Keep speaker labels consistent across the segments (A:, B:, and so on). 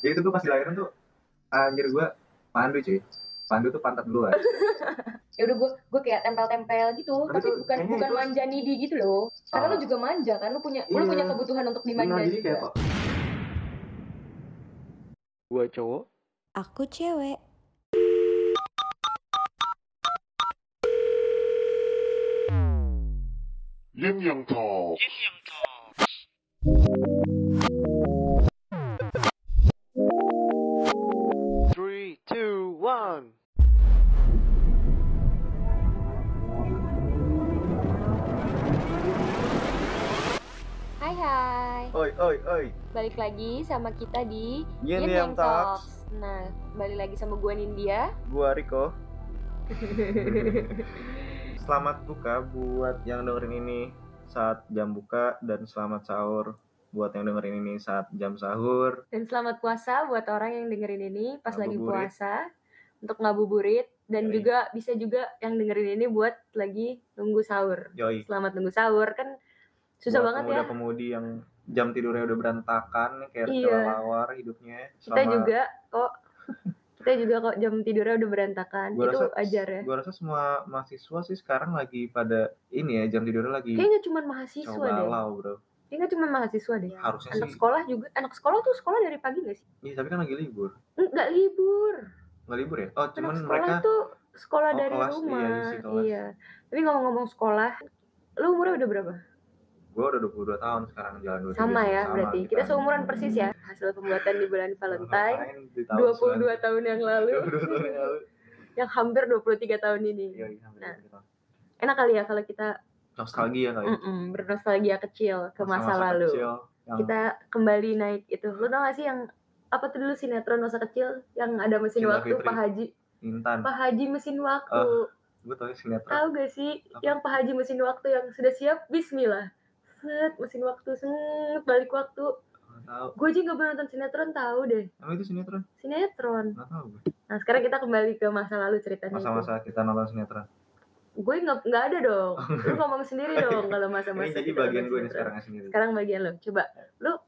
A: Jadi itu gue pas lahiran tuh anjir gue pandu cuy. Pandu tuh pantat duluan.
B: ya udah gue gue kayak tempel-tempel gitu
A: Tapi
B: tapi,
A: tuh
B: bukan
A: kayaknya
B: bukan
A: itu-
B: manja nidi gitu loh karena
A: Ah.
B: lu juga manja kan lu punya lu
A: Iya.
B: punya kebutuhan untuk dimanja
A: Nah, jadi
B: juga
A: kayak kok.
C: Gua cowok.
D: Aku cewek.
E: Yin Yang Talk.
C: Three, two, one.
B: hai hai
A: Oi, oi, oi. Iya
B: balik lagi sama kita di
A: Yin
B: Yin
A: Yang
B: Yang
A: Talks.
B: Talks. nah balik lagi sama gue Nindya
A: Gua Riko. Selamat buka buat yang dengerin ini saat jam buka dan selamat sahur buat yang dengerin ini saat jam sahur.
B: dan selamat puasa buat orang yang dengerin ini pas lagi
A: Ngabuburit.
B: puasa untuk ngabuburit dan
A: Yoi.
B: juga bisa juga yang dengerin ini buat lagi nunggu sahur
A: Yoi.
B: selamat nunggu sahur kan susah
A: buat
B: banget ya
A: pemuda-pemudi yang jam tidurnya udah berantakan kayak
B: Iya.
A: kelelawar hidupnya
B: kita juga kok kita juga kok jam tidurnya udah berantakan
A: Gua
B: itu
A: rasa-
B: ajar ya
A: gue rasa semua mahasiswa sih sekarang lagi pada ini ya jam tidurnya lagi
B: kayaknya cuma mahasiswa
A: coba
B: deh
A: galau bro
B: kayaknya cuma mahasiswa deh
A: harusnya
B: anak
A: sih
B: sekolah juga anak sekolah tuh sekolah dari pagi gak sih
A: iya tapi kan lagi libur
B: nggak libur
A: nggak libur ya oh cuman
B: anak sekolah
A: mereka
B: tuh sekolah
A: Oh,
B: dari
A: kelas. Iya,
B: rumah
A: iya sih, kelas.
B: iya tapi ngomong-ngomong sekolah lu umurnya udah berapa
A: gue udah 22 tahun sekarang jalan 23
B: sama ya berarti kita
A: kan.
B: seumuran persis ya hasil pembuatan di bulan Valentine
A: Ngapain di tahun
B: 22 tahun yang lalu
A: 22 tahun yang lalu
B: yang hampir 23 tahun ini
A: Iya, iya, hampir
B: Nah.
A: 22 tahun.
B: enak kali ya kalau kita
A: nostalgia kali
B: mm bernostalgia kecil ke masa,
A: Gitu. Masa-masa
B: lalu
A: kecil yang
B: kita kembali naik itu lu tau gak sih yang apa tuh dulu sinetron masa kecil yang ada mesin
A: Cinta
B: waktu
A: Fitri.
B: Pak Haji
A: intan
B: Pak Haji mesin waktu
A: gue tau ya, sinetron
B: tahu gak sih
A: ah. Apa?
B: yang Pak Haji mesin waktu yang sudah siap Bismillah set mesin waktu set balik waktu
A: nggak tahu
B: gue aja nggak pernah nonton sinetron tahu deh
A: emang itu sinetron
B: sinetron
A: nggak tahu gue
B: nah sekarang kita kembali ke masa lalu ceritanya
A: masa-masa kita nonton sinetron
B: gue nggak nggak ada dong lu ngomong sendiri dong kalau
A: ini
B: masa-masa
A: jadi
B: kita
A: bagian
B: nonton
A: gue nih
B: sinetron. Oh, kan?
A: sekarang sendiri
B: sekarang bagian lo coba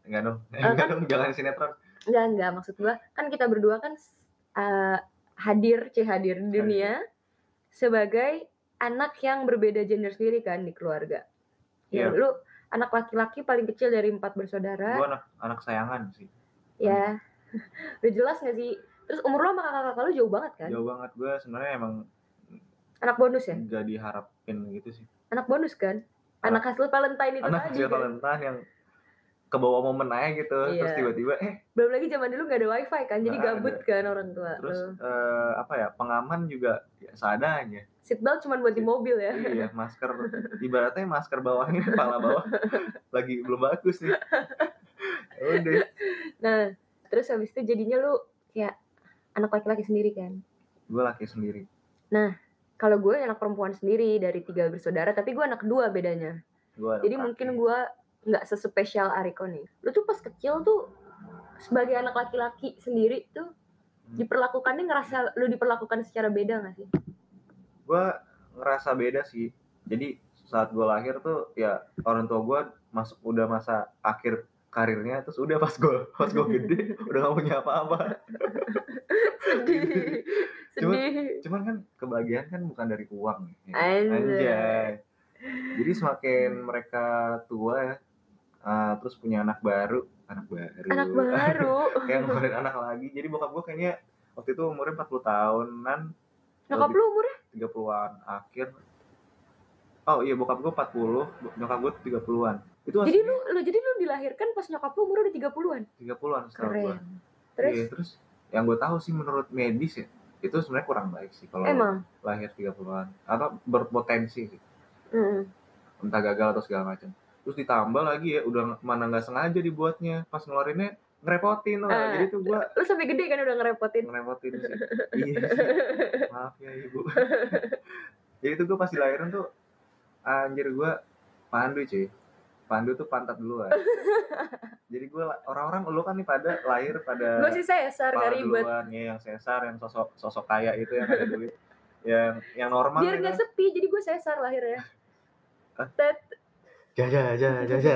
A: enggak dong enggak dong jangan sinetron
B: Enggak, enggak. Maksud gua kan kita berdua kan eh, hadir, cih hadir di dunia sebagai anak yang berbeda gender sendiri kan di keluarga. Ya,
A: Iya.
B: lu anak laki-laki paling kecil dari empat
A: gue
B: bersaudara,
A: anak anak sayangan sih
B: ya. Udah jelas gak sih? Terus umur lu sama kakak-kakak lu jauh banget kan?
A: jauh banget gue sebenarnya emang
B: Anak bonus ya?
A: nggak diharapin gitu sih
B: Anak bonus kan? Anak hasil Valentine itu
A: anak
B: tadi.
A: kecil
B: kan?
A: Valentine yang kebawa momen aja gitu
B: Iya.
A: terus tiba-tiba eh
B: Belum lagi zaman dulu gak ada wifi kan, jadi
A: Nggak ada.
B: gabut kan orang tua.
A: terus
B: Lu.
A: eh, apa ya pengaman juga ya, seadanya
B: Seatbelt cuma buat di
A: Seat-
B: mobil ya.
A: iya masker ibaratnya masker bawahnya kepala bawah lagi belum bagus nih Ya udah
B: Nah, terus habis itu jadinya lu kayak anak laki-laki sendiri kan?
A: gue laki sendiri
B: kalau gue anak perempuan sendiri dari tiga bersaudara tapi gue anak dua bedanya
A: gue
B: jadi mungkin gue nggak sespesial Ariko nih lu tuh pas kecil tuh sebagai anak laki-laki sendiri tuh diperlakukannya ngerasa lu diperlakukan secara beda gak sih
A: gue ngerasa beda sih jadi saat gue lahir tuh ya orang tua gue masuk udah masa akhir karirnya terus udah pas gue pas gue gede udah gak punya apa-apa
B: sedih
A: Cuma-
B: sedih
A: cuman kan kebahagiaan kan bukan dari uang ya.
B: Anjay.
A: jadi semakin mereka tua ya eh, terus punya anak baru anak baru
B: anak baru
A: kayak ngeluarin anak lagi jadi bokap gue kayaknya waktu itu umurnya 40 tahunan
B: nyokap lu umurnya
A: 30-an akhir. Oh iya bokap gue 40, bo- nyokap gue 30-an. Itu
B: jadi lu lu jadi lu dilahirkan pas nyokap lu umur udah 30-an
A: 30-an setahu gue.
B: keren terus
A: Iya, terus yang gue tahu sih menurut medis ya, itu sebenarnya kurang baik sih kalau
B: emang
A: lahir 30-an atau berpotensi sih,
B: Mm.
A: entah gagal atau segala macam. Terus ditambah lagi ya udah nge- mana nggak sengaja dibuatnya, pas ngeluarinnya ngerepotin loh.
B: Ah.
A: Jadi tuh gue
B: lu sampai gede kan udah ngerepotin
A: ngerepotin sih. iya sih. Maaf ya ibu. Jadi itu gue pas lahiran tuh anjir gue pandu cuy. Pandu tuh pantat duluan. Jadi gue orang-orang lu kan nih pada lahir pada
B: gue sih sesar
A: kepala
B: gak ribet
A: duluan ya yang sesar yang sosok sosok kaya itu yang ada duit yang yang normal
B: biar
A: ya
B: nggak
A: kan.
B: sepi jadi gue sesar lahirnya
A: Hah?
B: tet
A: Jaja, jaja, jaja.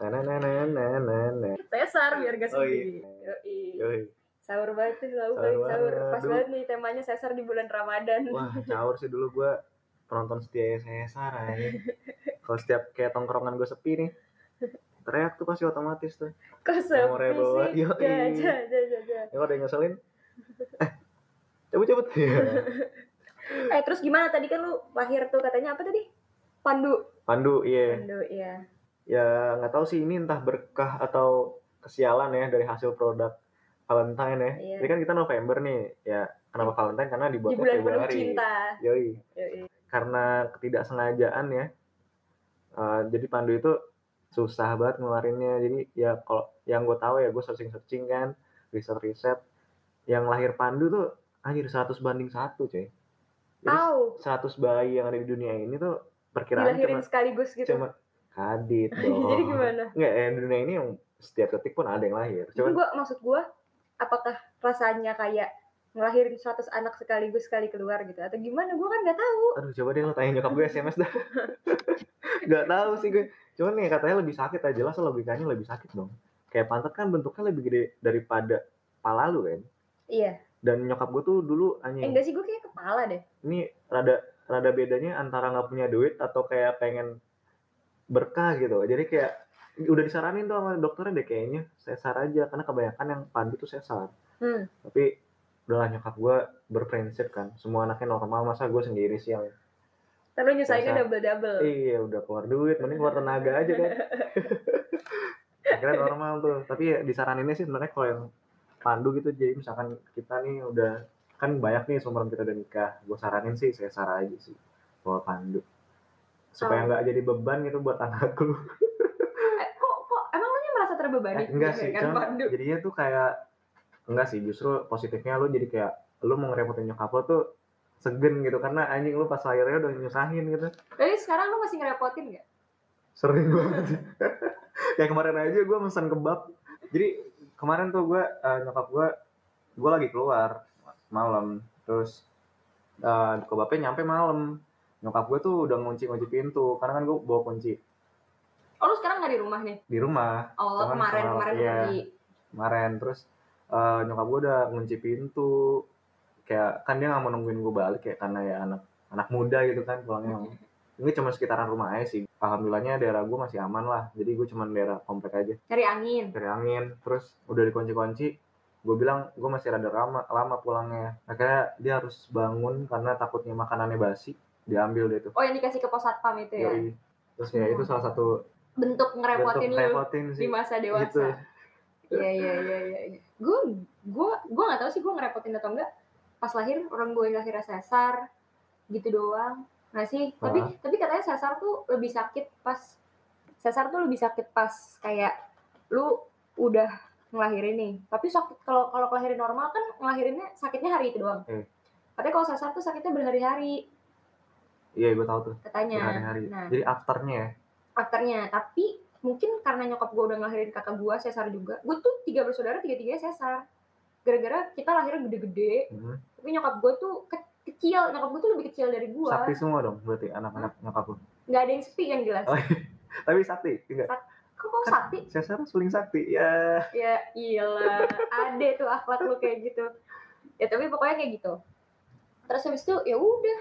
A: Nah, nah, nah, nah, nah, nah.
B: Sesar biar gak
A: Oh,
B: sendiri. Yoi.
A: Yoi.
B: Sahur banget nih
A: Sahur
B: lauk baik sahur.
A: banget.
B: Pas
A: Dulu-
B: banget nih temanya sesar di bulan Ramadan.
A: Wah, caur sih dulu gue penonton setia saya Sarah ya. Kalau setiap kayak tongkrongan gue sepi nih, teriak tuh pasti otomatis tuh.
B: Kok sepi
A: Memori bawa,
B: sih?
A: yoi.
B: Ya, ja, ja, ja, ja.
A: Ya ada yang ngeselin. eh, Cabut-cabut. Iya.
B: Eh terus gimana tadi kan lu lahir tuh katanya apa tadi? Pandu.
A: Pandu, iya.
B: Pandu ya.
A: Ya nggak tahu sih ini entah berkah atau kesialan ya dari hasil produk Valentine ya.
B: Iya.
A: Ini kan kita November nih, ya kenapa Valentine karena
B: Di
A: dibuatnya
B: bulan penuh
A: Februari.
B: cinta.
A: Yoi.
B: Yoi.
A: karena ketidaksengajaan ya. Eh, jadi Pandu itu susah banget ngeluarinnya. Jadi ya kalau yang gue tahu ya gue searching-searching kan, riset-riset. Yang lahir Pandu tuh anjir 100 banding 1 cuy. Jadi
B: Au,
A: 100 bayi yang ada di dunia ini tuh perkiraan
B: dilahirin
A: cuma,
B: sekaligus gitu.
A: cuma kadit dong.
B: Jadi gimana?
A: Nggak, ya, di dunia ini yang setiap detik pun ada yang lahir. Cuman
B: Cuman, gua maksud gua apakah rasanya kayak ngelahirin 100 anak sekaligus sekali keluar gitu atau gimana gua kan nggak tahu
A: aduh coba deh lo tanya nyokap gue SMS dah nggak tahu sih gue cuman nih katanya lebih sakit aja jelas logikanya lebih sakit dong kayak pantat kan bentuknya lebih gede daripada pala lu kan
B: iya
A: dan nyokap gue tuh dulu
B: eh,
A: anjing
B: enggak sih gua kayak kepala deh
A: ini rada rada bedanya antara nggak punya duit atau kayak pengen berkah gitu jadi kayak udah disaranin tuh sama dokternya deh kayaknya sesar aja karena kebanyakan yang pandu tuh sesar
B: hmm.
A: tapi udahlah nyokap gue berprinsip kan semua anaknya normal masa gue sendiri sih yang
B: terus
A: Biasa.
B: nyusahinnya double double
A: Iya udah keluar duit, mending keluar tenaga aja kan. Akhirnya normal tuh. Tapi ya disaraninnya sih sebenarnya kalau yang pandu gitu, jadi misalkan kita nih udah kan banyak nih seumuran kita udah nikah. Gue saranin sih, saya saran aja sih bawa pandu supaya
B: Oh.
A: nggak jadi beban gitu buat anak lu.
B: Eh, kok kok emang lu nya merasa terbebani
A: Eh, enggak sih,
B: kan
A: cuman
B: Pandu
A: jadinya tuh kayak enggak sih. Justru positifnya lu jadi kayak lu mau ngerepotin nyokap lu tuh segen gitu karena anjing lu pas lahirnya udah nyusahin gitu.
B: jadi sekarang lu masih ngerepotin nggak
A: sering banget sih. kayak kemarin aja gue pesan kebab jadi kemarin tuh gue eh, nyokap gue gue lagi keluar malam terus eh, kebabnya nyampe malam nyokap gue tuh udah ngunci ngunci pintu karena kan gue bawa kunci
B: oh lu sekarang nggak di rumah nih
A: di rumah Cuman
B: oh kemarin
A: kalau-
B: kemarin
A: iya.
B: pergi
A: kemarin terus eh, nyokap gue udah ngunci pintu kayak kan dia nggak mau nungguin gue balik ya karena ya anak anak muda gitu kan pulangnya ini cuma sekitaran rumah aja sih alhamdulillahnya daerah gue masih aman lah jadi gue cuma daerah komplek aja
B: cari angin
A: dari angin terus udah dikunci-kunci gue bilang gue masih rada lama lama pulangnya akhirnya dia harus bangun karena takutnya makanannya basi diambil deh tuh
B: oh yang dikasih ke pos satpam itu ya
A: Yoi. terus ya itu salah satu
B: bentuk ngerepotin
A: bentuk
B: lu
A: repotin sih
B: di masa
A: gitu
B: dewasa Iya iya iya iya. iya. Gue gue gue nggak tahu sih gue ngerepotin atau enggak. Pas lahir orang gue lahir sesar gitu doang. Nah sih, tapi
A: Ah.
B: tapi katanya sesar tuh lebih sakit pas sesar tuh lebih sakit pas kayak lu udah ngelahirin nih. Tapi sakit kalau kalau kelahirin normal kan ngelahirinnya sakitnya hari itu doang.
A: Hmm.
B: Tapi kalau sesar tuh sakitnya berhari-hari
A: iya gue tahu tuh
B: katanya.
A: hari-hari
B: Nah.
A: jadi afternya ya
B: Afternya, tapi mungkin karena nyokap gue udah ngelahirin kakak gue sesar juga. Gue tuh tiga bersaudara tiga-tiganya sesar. Gara-gara kita lahirnya gede-gede,
A: hmm.
B: tapi nyokap gue tuh ke- kecil nyokap gue tuh lebih kecil dari gue
A: sakti semua dong berarti anak-anak nyokap lu
B: nggak ada yang sepi yang jelas
A: Oh. tapi sakti enggak
B: kok kok
A: Kan-
B: sakti
A: saya sekarang suling sakti ya
B: ya iyalah ada tuh akhlak lu kayak gitu ya tapi pokoknya kayak gitu terus habis itu ya udah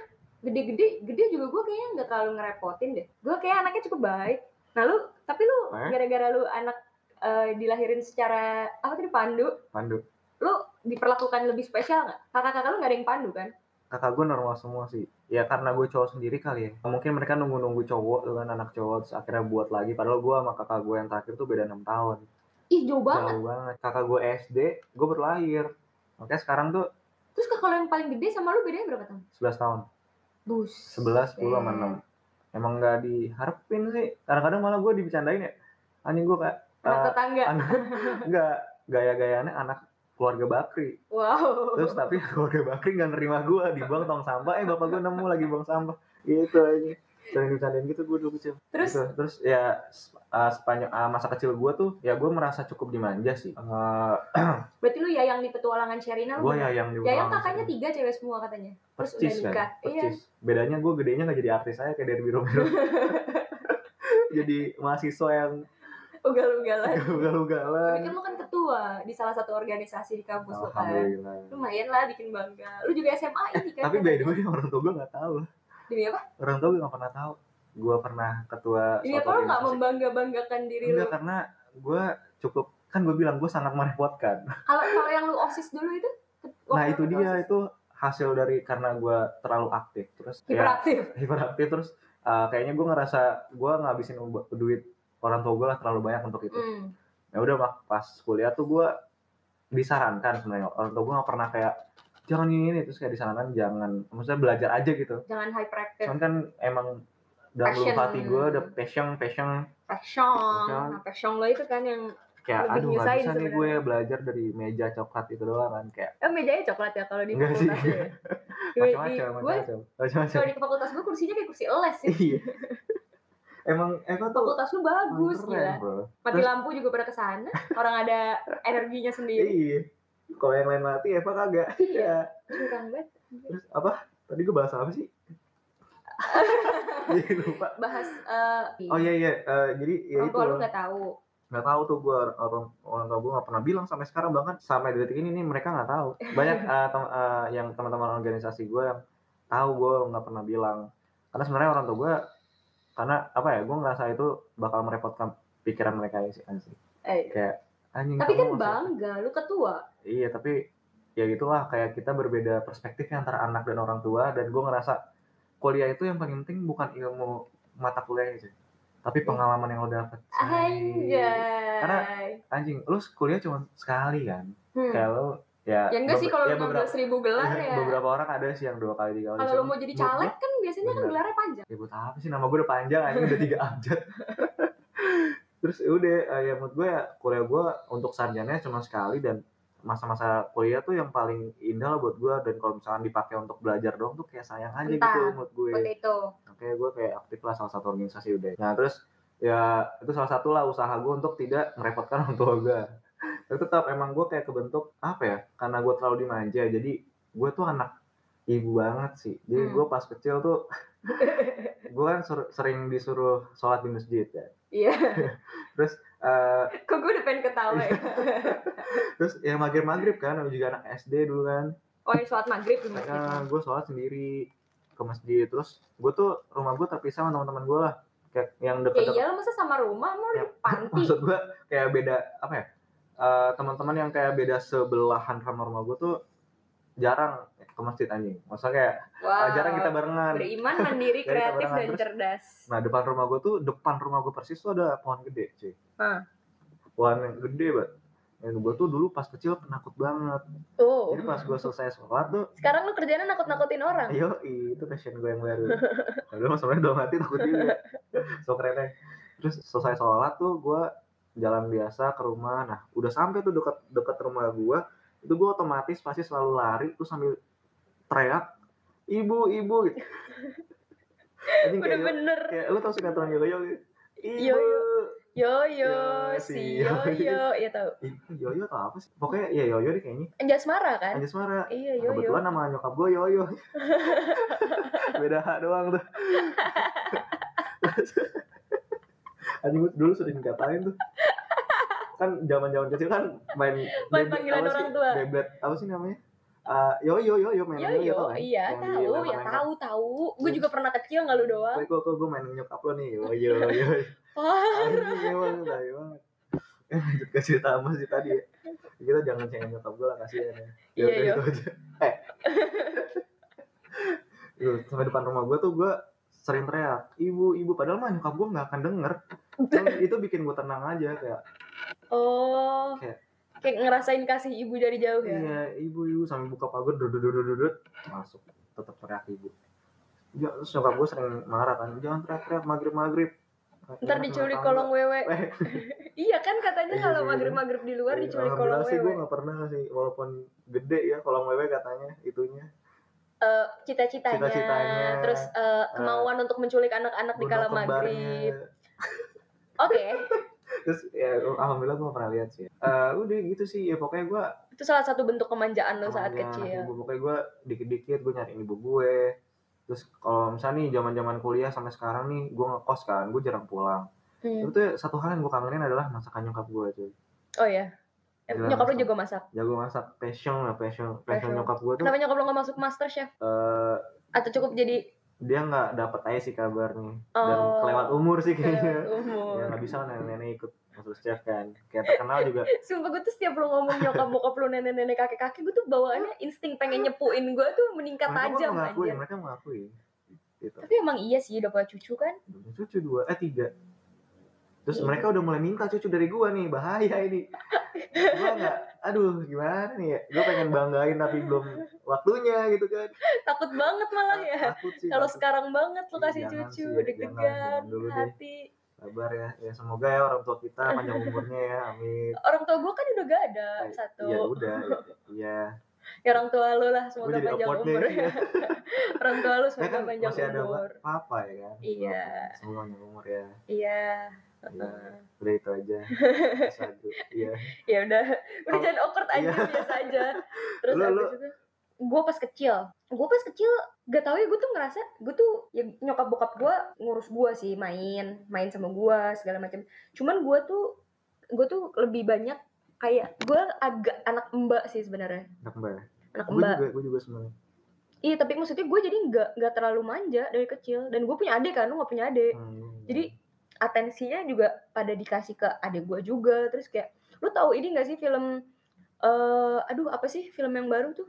B: gede-gede gede juga gue kayaknya nggak terlalu ngerepotin deh gue kayak anaknya cukup baik nah lu tapi lu
A: Eh?
B: gara-gara lu anak eh, dilahirin secara apa tadi pandu
A: pandu
B: lu diperlakukan lebih spesial nggak kakak-kakak lu nggak ada yang pandu kan
A: kakak gue normal semua sih ya karena gue cowok sendiri kali ya mungkin mereka nunggu-nunggu cowok dengan anak cowok terus akhirnya buat lagi padahal gue sama kakak gue yang terakhir tuh beda 6 tahun
B: ih jauh banget
A: jauh banget kakak gue SD gue baru lahir makanya sekarang tuh
B: terus kakak lu yang paling gede sama lu bedanya berapa tahun
A: 11 tahun
B: bus
A: 11, 10 sama 6 emang gak diharapin sih kadang-kadang malah gue dibicarain ya anjing gue kayak
B: anak
A: eh,
B: tetangga
A: anak nggak gaya-gayanya anak keluarga Bakri
B: wow
A: terus tapi keluarga Bakri nggak nerima gue dibuang tong sampah eh bapak gue nemu lagi buang sampah gitu aja sering dibicarain gitu gue dulu kecil
B: terus
A: Gitu. terus ya se- uh, sepanjang uh, masa kecil gue tuh ya gue merasa cukup dimanja sih Eh,
B: berarti lu yayang di petualangan Sherina lu
A: gue ya yang di
B: yayang
A: ulang-
B: kakaknya tiga cewek semua katanya terus udah
A: percis kan
B: nikah. Iya.
A: percis bedanya gue gedenya nggak jadi artis saya kayak dari biro biro jadi mahasiswa yang
B: ugal-ugalan
A: ugal-ugalan
B: Tapi kan lu kan ketua di salah satu organisasi di kampus lu kan
A: alhamdulillah
B: lumayan lah bikin bangga lu juga SMA ini kan
A: tapi by the way orang tua gue nggak tahu
B: demi apa
A: orang tua gue nggak pernah tahu gue pernah ketua
B: demi apa lu Iya, nggak membangga banggakan diri lu
A: enggak karena gue cukup kan gue bilang gue sangat merepotkan
B: kalau kalau yang lu osis dulu itu
A: kan. nah
B: waktu
A: itu
B: lu
A: dia
B: OSIS,
A: itu hasil dari karena gue terlalu aktif terus ya
B: hiperaktif
A: hiperaktif terus uh, kayaknya gue ngerasa gue ngabisin u- duit orang tua gue lah terlalu banyak untuk itu
B: Hmm.
A: ya udah mak pas kuliah tuh gue disarankan sebenarnya orang tua gue nggak pernah kayak jangan ini ini terus kayak disarankan jangan maksudnya belajar aja gitu
B: jangan hyperaktif
A: cuman kan emang dalam
B: Passion.
A: lubuk hati gue udah passion passion
B: passion nah, passion lo itu kan yang
A: kayak
B: Lebih
A: aduh nggak
B: nyusahin
A: bisa nih gue
B: sebenarnya.
A: belajar dari meja coklat itu doang kan kayak
B: eh mejanya coklat ya kalau di
A: Enggak sih.
B: fakultas ya. Di- di-
A: macam-macam
B: gue
A: macam-macam macam-macam
B: kalau di fakultas gue kursinya kayak kursi les sih
A: iya emang emang tuh
B: fakultas lu bagus ya?
A: keren,
B: gila
A: bro
B: mati lampu juga pada kesana orang ada energinya sendiri
A: iya kalau yang lain mati Eva kagak
B: Iya.
A: iya
B: curang banget
A: terus apa tadi gue bahas apa sih Iya, lupa
B: bahas eh
A: oh iya iya Eh, jadi ya
B: orang
A: itu
B: tua lu nggak tahu
A: nggak tahu tuh gue orang orang tua gue nggak pernah bilang sampai sekarang bahkan sampai detik ini nih mereka nggak tahu banyak eh, tem- eh, yang teman-teman organisasi gue yang tahu gue nggak pernah bilang karena sebenarnya orang tua gue karena apa ya gue ngerasa itu bakal merepotkan pikiran mereka ya sih anjing
B: eh,
A: kayak anjing kamu
B: tapi kan
A: masih-
B: bangga lu ketua
A: iya tapi ya gitulah kayak kita berbeda perspektif ya antara anak dan orang tua dan gue ngerasa kuliah itu yang paling penting bukan ilmu mata kuliahnya sih tapi pengalaman yang lo dapet
B: Iya. anjay
A: Karena- anjing lu kuliah cuma sekali kan
B: Hmm.
A: kayak lu ya
B: ya enggak
A: beber-
B: sih kalau
A: ya,
B: enam
A: beberapa,
B: belas ribu gelar
A: ya,
B: ya
A: beberapa orang ada sih yang dua kali tiga kali
B: kalau lu mau jadi caleg kan biasanya kan
A: Bener.
B: gelarnya panjang
A: ya buat apa sih nama gue udah panjang anjing udah tiga abjad terus ya udah eh, ya menurut gue ya, kuliah gue untuk sarjananya cuma sekali dan masa-masa kuliah tuh yang paling indah lah buat gue dan kalau misalkan dipakai untuk belajar doang tuh kayak sayang aja
B: Entah.
A: gitu menurut gue
B: waktu itu
A: oke gue kayak aktif lah salah satu organisasi udah nah terus ya itu salah satu lah usaha gue untuk tidak merepotkan orang tua gue tapi tetap emang gue kayak kebentuk apa ya karena gue terlalu dimanja jadi gue tuh anak ibu banget sih jadi
B: Hmm.
A: gue pas kecil tuh gue kan sur- sering disuruh sholat di masjid ya
B: iya
A: Eh,
B: kok gue udah pengen ketawa
A: Iya.
B: ya
A: terus ya maghrib maghrib kan namanya juga anak SD dulu kan
B: oh ya sholat maghrib di masjid
A: Karena gue sholat sendiri ke masjid terus gue tuh rumah gue terpisah sama teman-teman gue lah kayak yang
B: ya
A: deket-deket
B: iya lu masa sama rumah mau di
A: Ya,
B: panti
A: maksud gue kayak beda apa ya eh, teman-teman yang kayak beda sebelahan sama rumah gue tuh jarang ke masjid anjing maksudnya kayak eh,
B: wah
A: jarang kita barengan
B: beriman mandiri
A: Dari
B: kreatif
A: tabarangan.
B: dan
A: Terus-
B: cerdas
A: nah depan rumah gue tuh depan rumah gue persis tuh ada pohon gede cuy
B: Ah.
A: pohon yang gede banget yang gue tuh dulu pas kecil penakut banget
B: oh
A: jadi pas Iya, gue selesai sholat tuh
B: sekarang lu kerjanya nakut-nakutin orang
A: Yo, itu passion gue yang baru. Ya Padahal mah sebenarnya dalam hati takut juga. So kerennya. Terus selesai sholat tuh gue jalan biasa ke rumah. Nah, udah sampai tuh dekat dekat rumah gue, itu gue otomatis pasti selalu lari tuh sambil teriak, ibu, ibu gitu. Anjing kayak,
B: bener-bener
A: kayak lu tau sinetron yo yo
B: Yo, yo. yo yo
A: Ya, si
B: si yo yo ya tau
A: Ibu Yoyo atau apa sih? Pokoknya ya Yoyo deh kayaknya.
B: Anjas Mara kan
A: Anjas Mara.
B: iya yo yo
A: Nah, Kebetulan nama nyokap gue Yoyo. Beda hak doang tuh. Anjing gue dulu sering dikatain tuh. Kan zaman-zaman kecil kan main
B: Main
A: Beyblade,
B: panggilan
A: apa sih?
B: orang tua.
A: Beyblade, apa sih namanya? Eh, yoyo yoyo main
B: yo
A: yoyo,
B: yo
A: tau kan?
B: iya
A: Yang Iya.
B: tahu ya
A: dilempar-lempar.
B: tahu tahu gue juga pernah kecil nggak lu doang
A: Gue gue gue- gue main nyokap lo nih yoyo yoyo. Iya,
B: Wah,
A: Anjing emang tai banget. Eh lanjut ke cerita sama sih tadi ya. Kita jangan cengin nyokap gue lah kasihan ya. Ya
B: Iya,
A: udah,
B: iya.
A: itu aja. Eh. Lu, sampai depan rumah gue tuh gue sering teriak ibu ibu padahal mah nyokap gue nggak akan denger Cuman itu bikin gue tenang aja kayak
B: oh
A: Kayak-
B: kayak ngerasain kasih ibu dari jauh ya
A: iya ibu ibu sambil buka pagar dudududududud masuk tetap teriak ibu ya, terus nyokap gue sering marah kan jangan teriak teriak maghrib maghrib
B: ntar diculik kolong wewe
A: Eh,
B: iya kan katanya
A: Iya,
B: kalau
A: iya, iya.
B: maghrib maghrib di luar
A: Iya,
B: diculik
A: alhamdulillah
B: kolong
A: sih gue
B: wewe
A: gak pernah sih walaupun gede ya kolong wewe katanya itunya
B: Eh, cita-citanya
A: Cita-citanya. Nah,
B: terus eh, kemauan untuk menculik anak-anak di
A: Gondok
B: kala
A: kembarnya.
B: maghrib oke
A: terus ya alhamdulillah gue pernah lihat sih Eh, udah gitu sih ya pokoknya gue
B: itu salah satu bentuk kemanjaan lo saat
A: temannya anak
B: kecil
A: ibu. pokoknya gue dikit-dikit gue nyariin ibu gue terus kalau misalnya nih zaman zaman kuliah sampai sekarang nih gue ngekos kan gue jarang pulang Tapi
B: Hmm.
A: tuh satu hal yang gue kangenin adalah masakan nyokap gue cuy.
B: Oh iya. Eh,
A: Gila,
B: nyokap lu
A: masak.
B: jago masak.
A: Jago masak, passion lah, passion,
B: Passion.
A: passion nyokap gue tuh.
B: Kenapa nyokap lu gak masuk master chef?
A: eh,
B: Atau cukup jadi
A: dia nggak dapat aja sih kabarnya dan
B: Oh.
A: kelewat umur sih
B: eh,
A: kayaknya. ya
B: umur?
A: nggak bisa nenek-nenek ikut masuk chef kan. Kayak terkenal juga.
B: Sumpah gue tuh setiap lu ngomong nyokap bokap lu nenek nenek kakek kakek gue tuh bawaannya insting pengen nyepuin gue tuh meningkat
A: mereka pun
B: tajam
A: mengakui,
B: aja.
A: mereka mengakui. Gitu.
B: Tapi emang iya sih udah punya cucu kan?
A: cucu dua eh tiga terus
B: Iya.
A: mereka udah mulai minta cucu dari gua nih bahaya ini gua nggak aduh gimana nih ya gua pengen banggain tapi belum waktunya gitu kan
B: Takut banget malah ya.
A: takut sih
B: Kalau
A: takut.
B: sekarang banget lu
A: Iya,
B: kasih
A: jangan
B: cucu
A: sih, jangan,
B: deg-degan
A: jangan dulu deh.
B: hati.
A: sabar ya ya semoga ya orang tua kita panjang umurnya ya amin
B: Orang tua gue kan udah gak ada satu.
A: ya udah ya,
B: Ya orang tua lu lah
A: Gua
B: semoga
A: jadi
B: panjang
A: awkward deh.
B: umur. orang tua lu
A: ya
B: semoga
A: kan
B: panjang
A: masih ada
B: umur.
A: papa ya kan
B: Iya.
A: Papa. semoga panjang umur ya
B: Iya.
A: ya udah itu aja satu iya
B: Ya udah, udah
A: Kalau-
B: jangan awkward aja
A: Iya.
B: biasa aja. Terus
A: Lu- lu-
B: abis itu gue pas kecil, gue pas kecil gak tau ya gue tuh ngerasa gue tuh ya nyokap bokap gue ngurus gue sih main main sama gue segala macam. Cuman gue tuh gue tuh lebih banyak kayak gue agak anak mbak sih sebenarnya
A: anak mbak
B: anak
A: gua
B: mbak
A: juga gua juga semuanya
B: iya tapi maksudnya gue jadi nggak nggak terlalu manja dari kecil dan gue punya adik kan lu nggak punya adik
A: Hmm.
B: jadi atensinya juga pada dikasih ke adik gue juga terus kayak lu tahu ini gak sih film eh aduh apa sih film yang baru tuh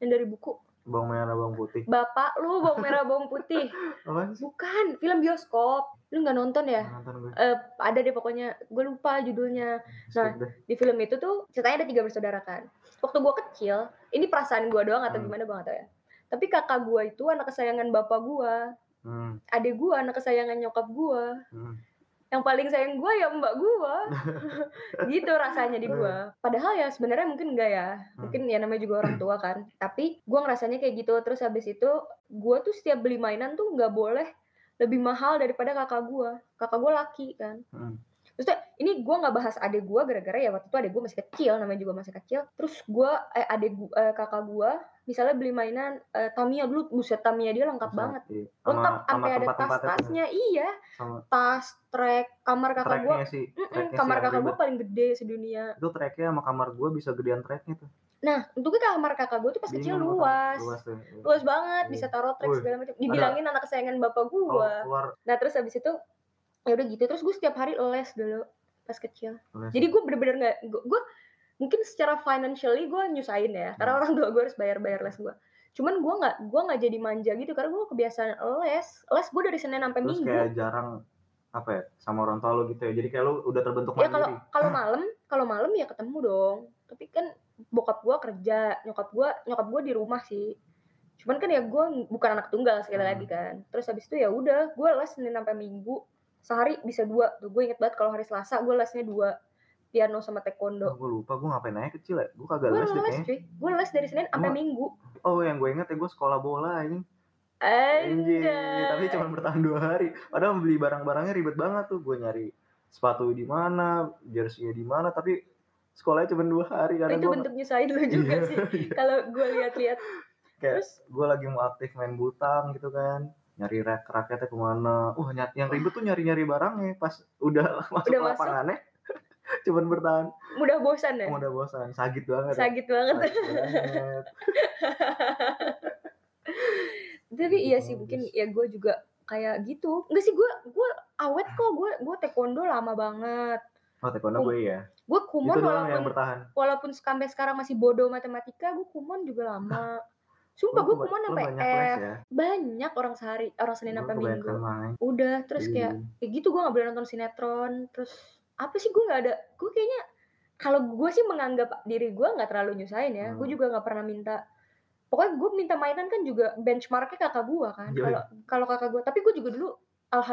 B: yang dari buku
A: bawang merah bawang putih
B: bapak lu bawang merah bawang putih
A: apa sih
B: bukan film bioskop lu nggak nonton ya
A: nonton gue
B: Eh, ada deh pokoknya gue lupa judulnya
A: Skip dah.
B: di film itu tuh ceritanya ada tiga bersaudara kan waktu gue kecil ini perasaan gue doang atau
A: Hmm.
B: gimana gue gak tau ya tapi kakak gue itu anak kesayangan bapak gue
A: Hmm,
B: adik gue anak kesayangan nyokap gue
A: hmm.
B: yang paling sayang gue ya mbak gue gitu rasanya di gue
A: Eh.
B: padahal ya sebenarnya mungkin enggak ya
A: Hmm.
B: mungkin ya namanya juga orang tua kan tapi gue ngerasanya kayak gitu terus habis itu gue tuh setiap beli mainan tuh nggak boleh lebih mahal daripada kakak gue kakak gue laki kan
A: Hmm.
B: terus tuh, ini gue nggak bahas adik gue gara-gara ya waktu itu adik gue masih kecil namanya juga masih kecil terus gue eh adik gua- eh, kakak gue misalnya beli mainan eh, Tamiya dulu buset Tamiya dia lengkap
A: Bisa,
B: banget
A: iya. Sama-
B: lengkap
A: sama
B: sampai ada
A: tempat-tempatnya tuh.
B: tas-tasnya iya
A: Sama
B: tas trek kamar kakak gue
A: treknya sih.
B: Mm-mm,
A: tracknya sih
B: kamar
A: yang
B: kakak gue
A: ribet.
B: paling gede sedunia.
A: Itu treknya sama kamar gue bisa gedean treknya tuh.
B: Nah, untungnya kamar kakak gue tuh pas kecil
A: Bingung gua kan.
B: luas.
A: Luas tuh.
B: Luas banget,
A: Iya.
B: bisa taruh trek
A: Wih,
B: segala macam. Dibilangin anak kesayangan bapak
A: Kalau
B: gue.
A: keluar
B: Nah, terus habis itu ya udah gitu. Terus gue setiap hari les dulu pas kecil.
A: luas.
B: Jadi gue bener-bener nggak gue mungkin secara financially gue nyusahin ya. Karena
A: Hmm.
B: orang tua gue harus bayar-bayar les gue. Cuman gue nggak gue nggak jadi manja gitu karena gue kebiasaan les. Les gue dari Senin sampai
A: terus
B: Minggu.
A: kayak jarang apa ya sama orang tua lo gitu ya. Jadi kayak lo udah terbentuk
B: ya
A: mandiri.
B: kalau kalau malam kalau malam ya ketemu dong tapi kan bokap gua kerja nyokap gua nyokap gua di rumah sih cuman kan ya gua bukan anak tunggal sekali
A: Hmm.
B: lagi kan terus habis itu ya udah gua les senin sampai minggu sehari bisa dua tuh gue inget banget kalau hari selasa gua lesnya dua piano sama taekwondo
A: gue lupa gue ngapain aja kecil ya. Gue kagak
B: gue
A: les deh
B: les
A: kayaknya.
B: cuy gue les dari senin sampai
A: Gua-
B: minggu
A: Oh yang gue inget ya gue sekolah bola ini. Anjir.
B: Anjay.
A: Iya, Tapi cuma bertahan dua hari. Padahal beli barang-barangnya ribet banget tuh. Gue nyari sepatu di mana, jersey di mana. Tapi sekolahnya cuma dua hari. Karena
B: itu
A: gua-
B: bentuk nyusahin lu juga
A: Iya,
B: sih kalau gue lihat-lihat
A: Kayak-
B: terus
A: gue lagi mau aktif main butang gitu kan nyari rak raketnya kemana wah nyat yang ribet tuh nyari nyari barangnya pas udah masuk
B: Udah
A: ke lapangannya cuman bertahan
B: mudah bosan ya
A: udah bosan sakit banget ya.
B: sakit banget
A: Sagit banget.
B: tapi iya
A: Gitu,
B: sih mungkin
A: bagus.
B: ya gue juga kayak gitu enggak sih gue gue awet kok gue gue taekwondo lama banget
A: oh taekwondo
B: Um,
A: gue ya
B: gue
A: itu
B: kumon
A: doang yang
B: walaupun
A: bertahan
B: walaupun sampai sekarang masih bodoh matematika gue kumon juga lama sumpah
A: Lu
B: gue
A: keba-
B: kumon
A: lu
B: sampai
A: banyak les
B: F
A: ya
B: banyak orang sehari orang senin
A: Lu
B: sampai
A: kebanyakan Iya.
B: minggu
A: main
B: udah terus kayak ya gitu gue nggak boleh nonton sinetron terus apa sih gue nggak ada gue kayaknya kalau gue sih menganggap diri gue nggak terlalu nyusahin ya gue
A: Hmm.
B: juga nggak pernah minta pokoknya gue minta mainan kan juga benchmarknya kakak gue kan
A: Yoi.
B: kalau kalau kakak gue tapi gue juga dulu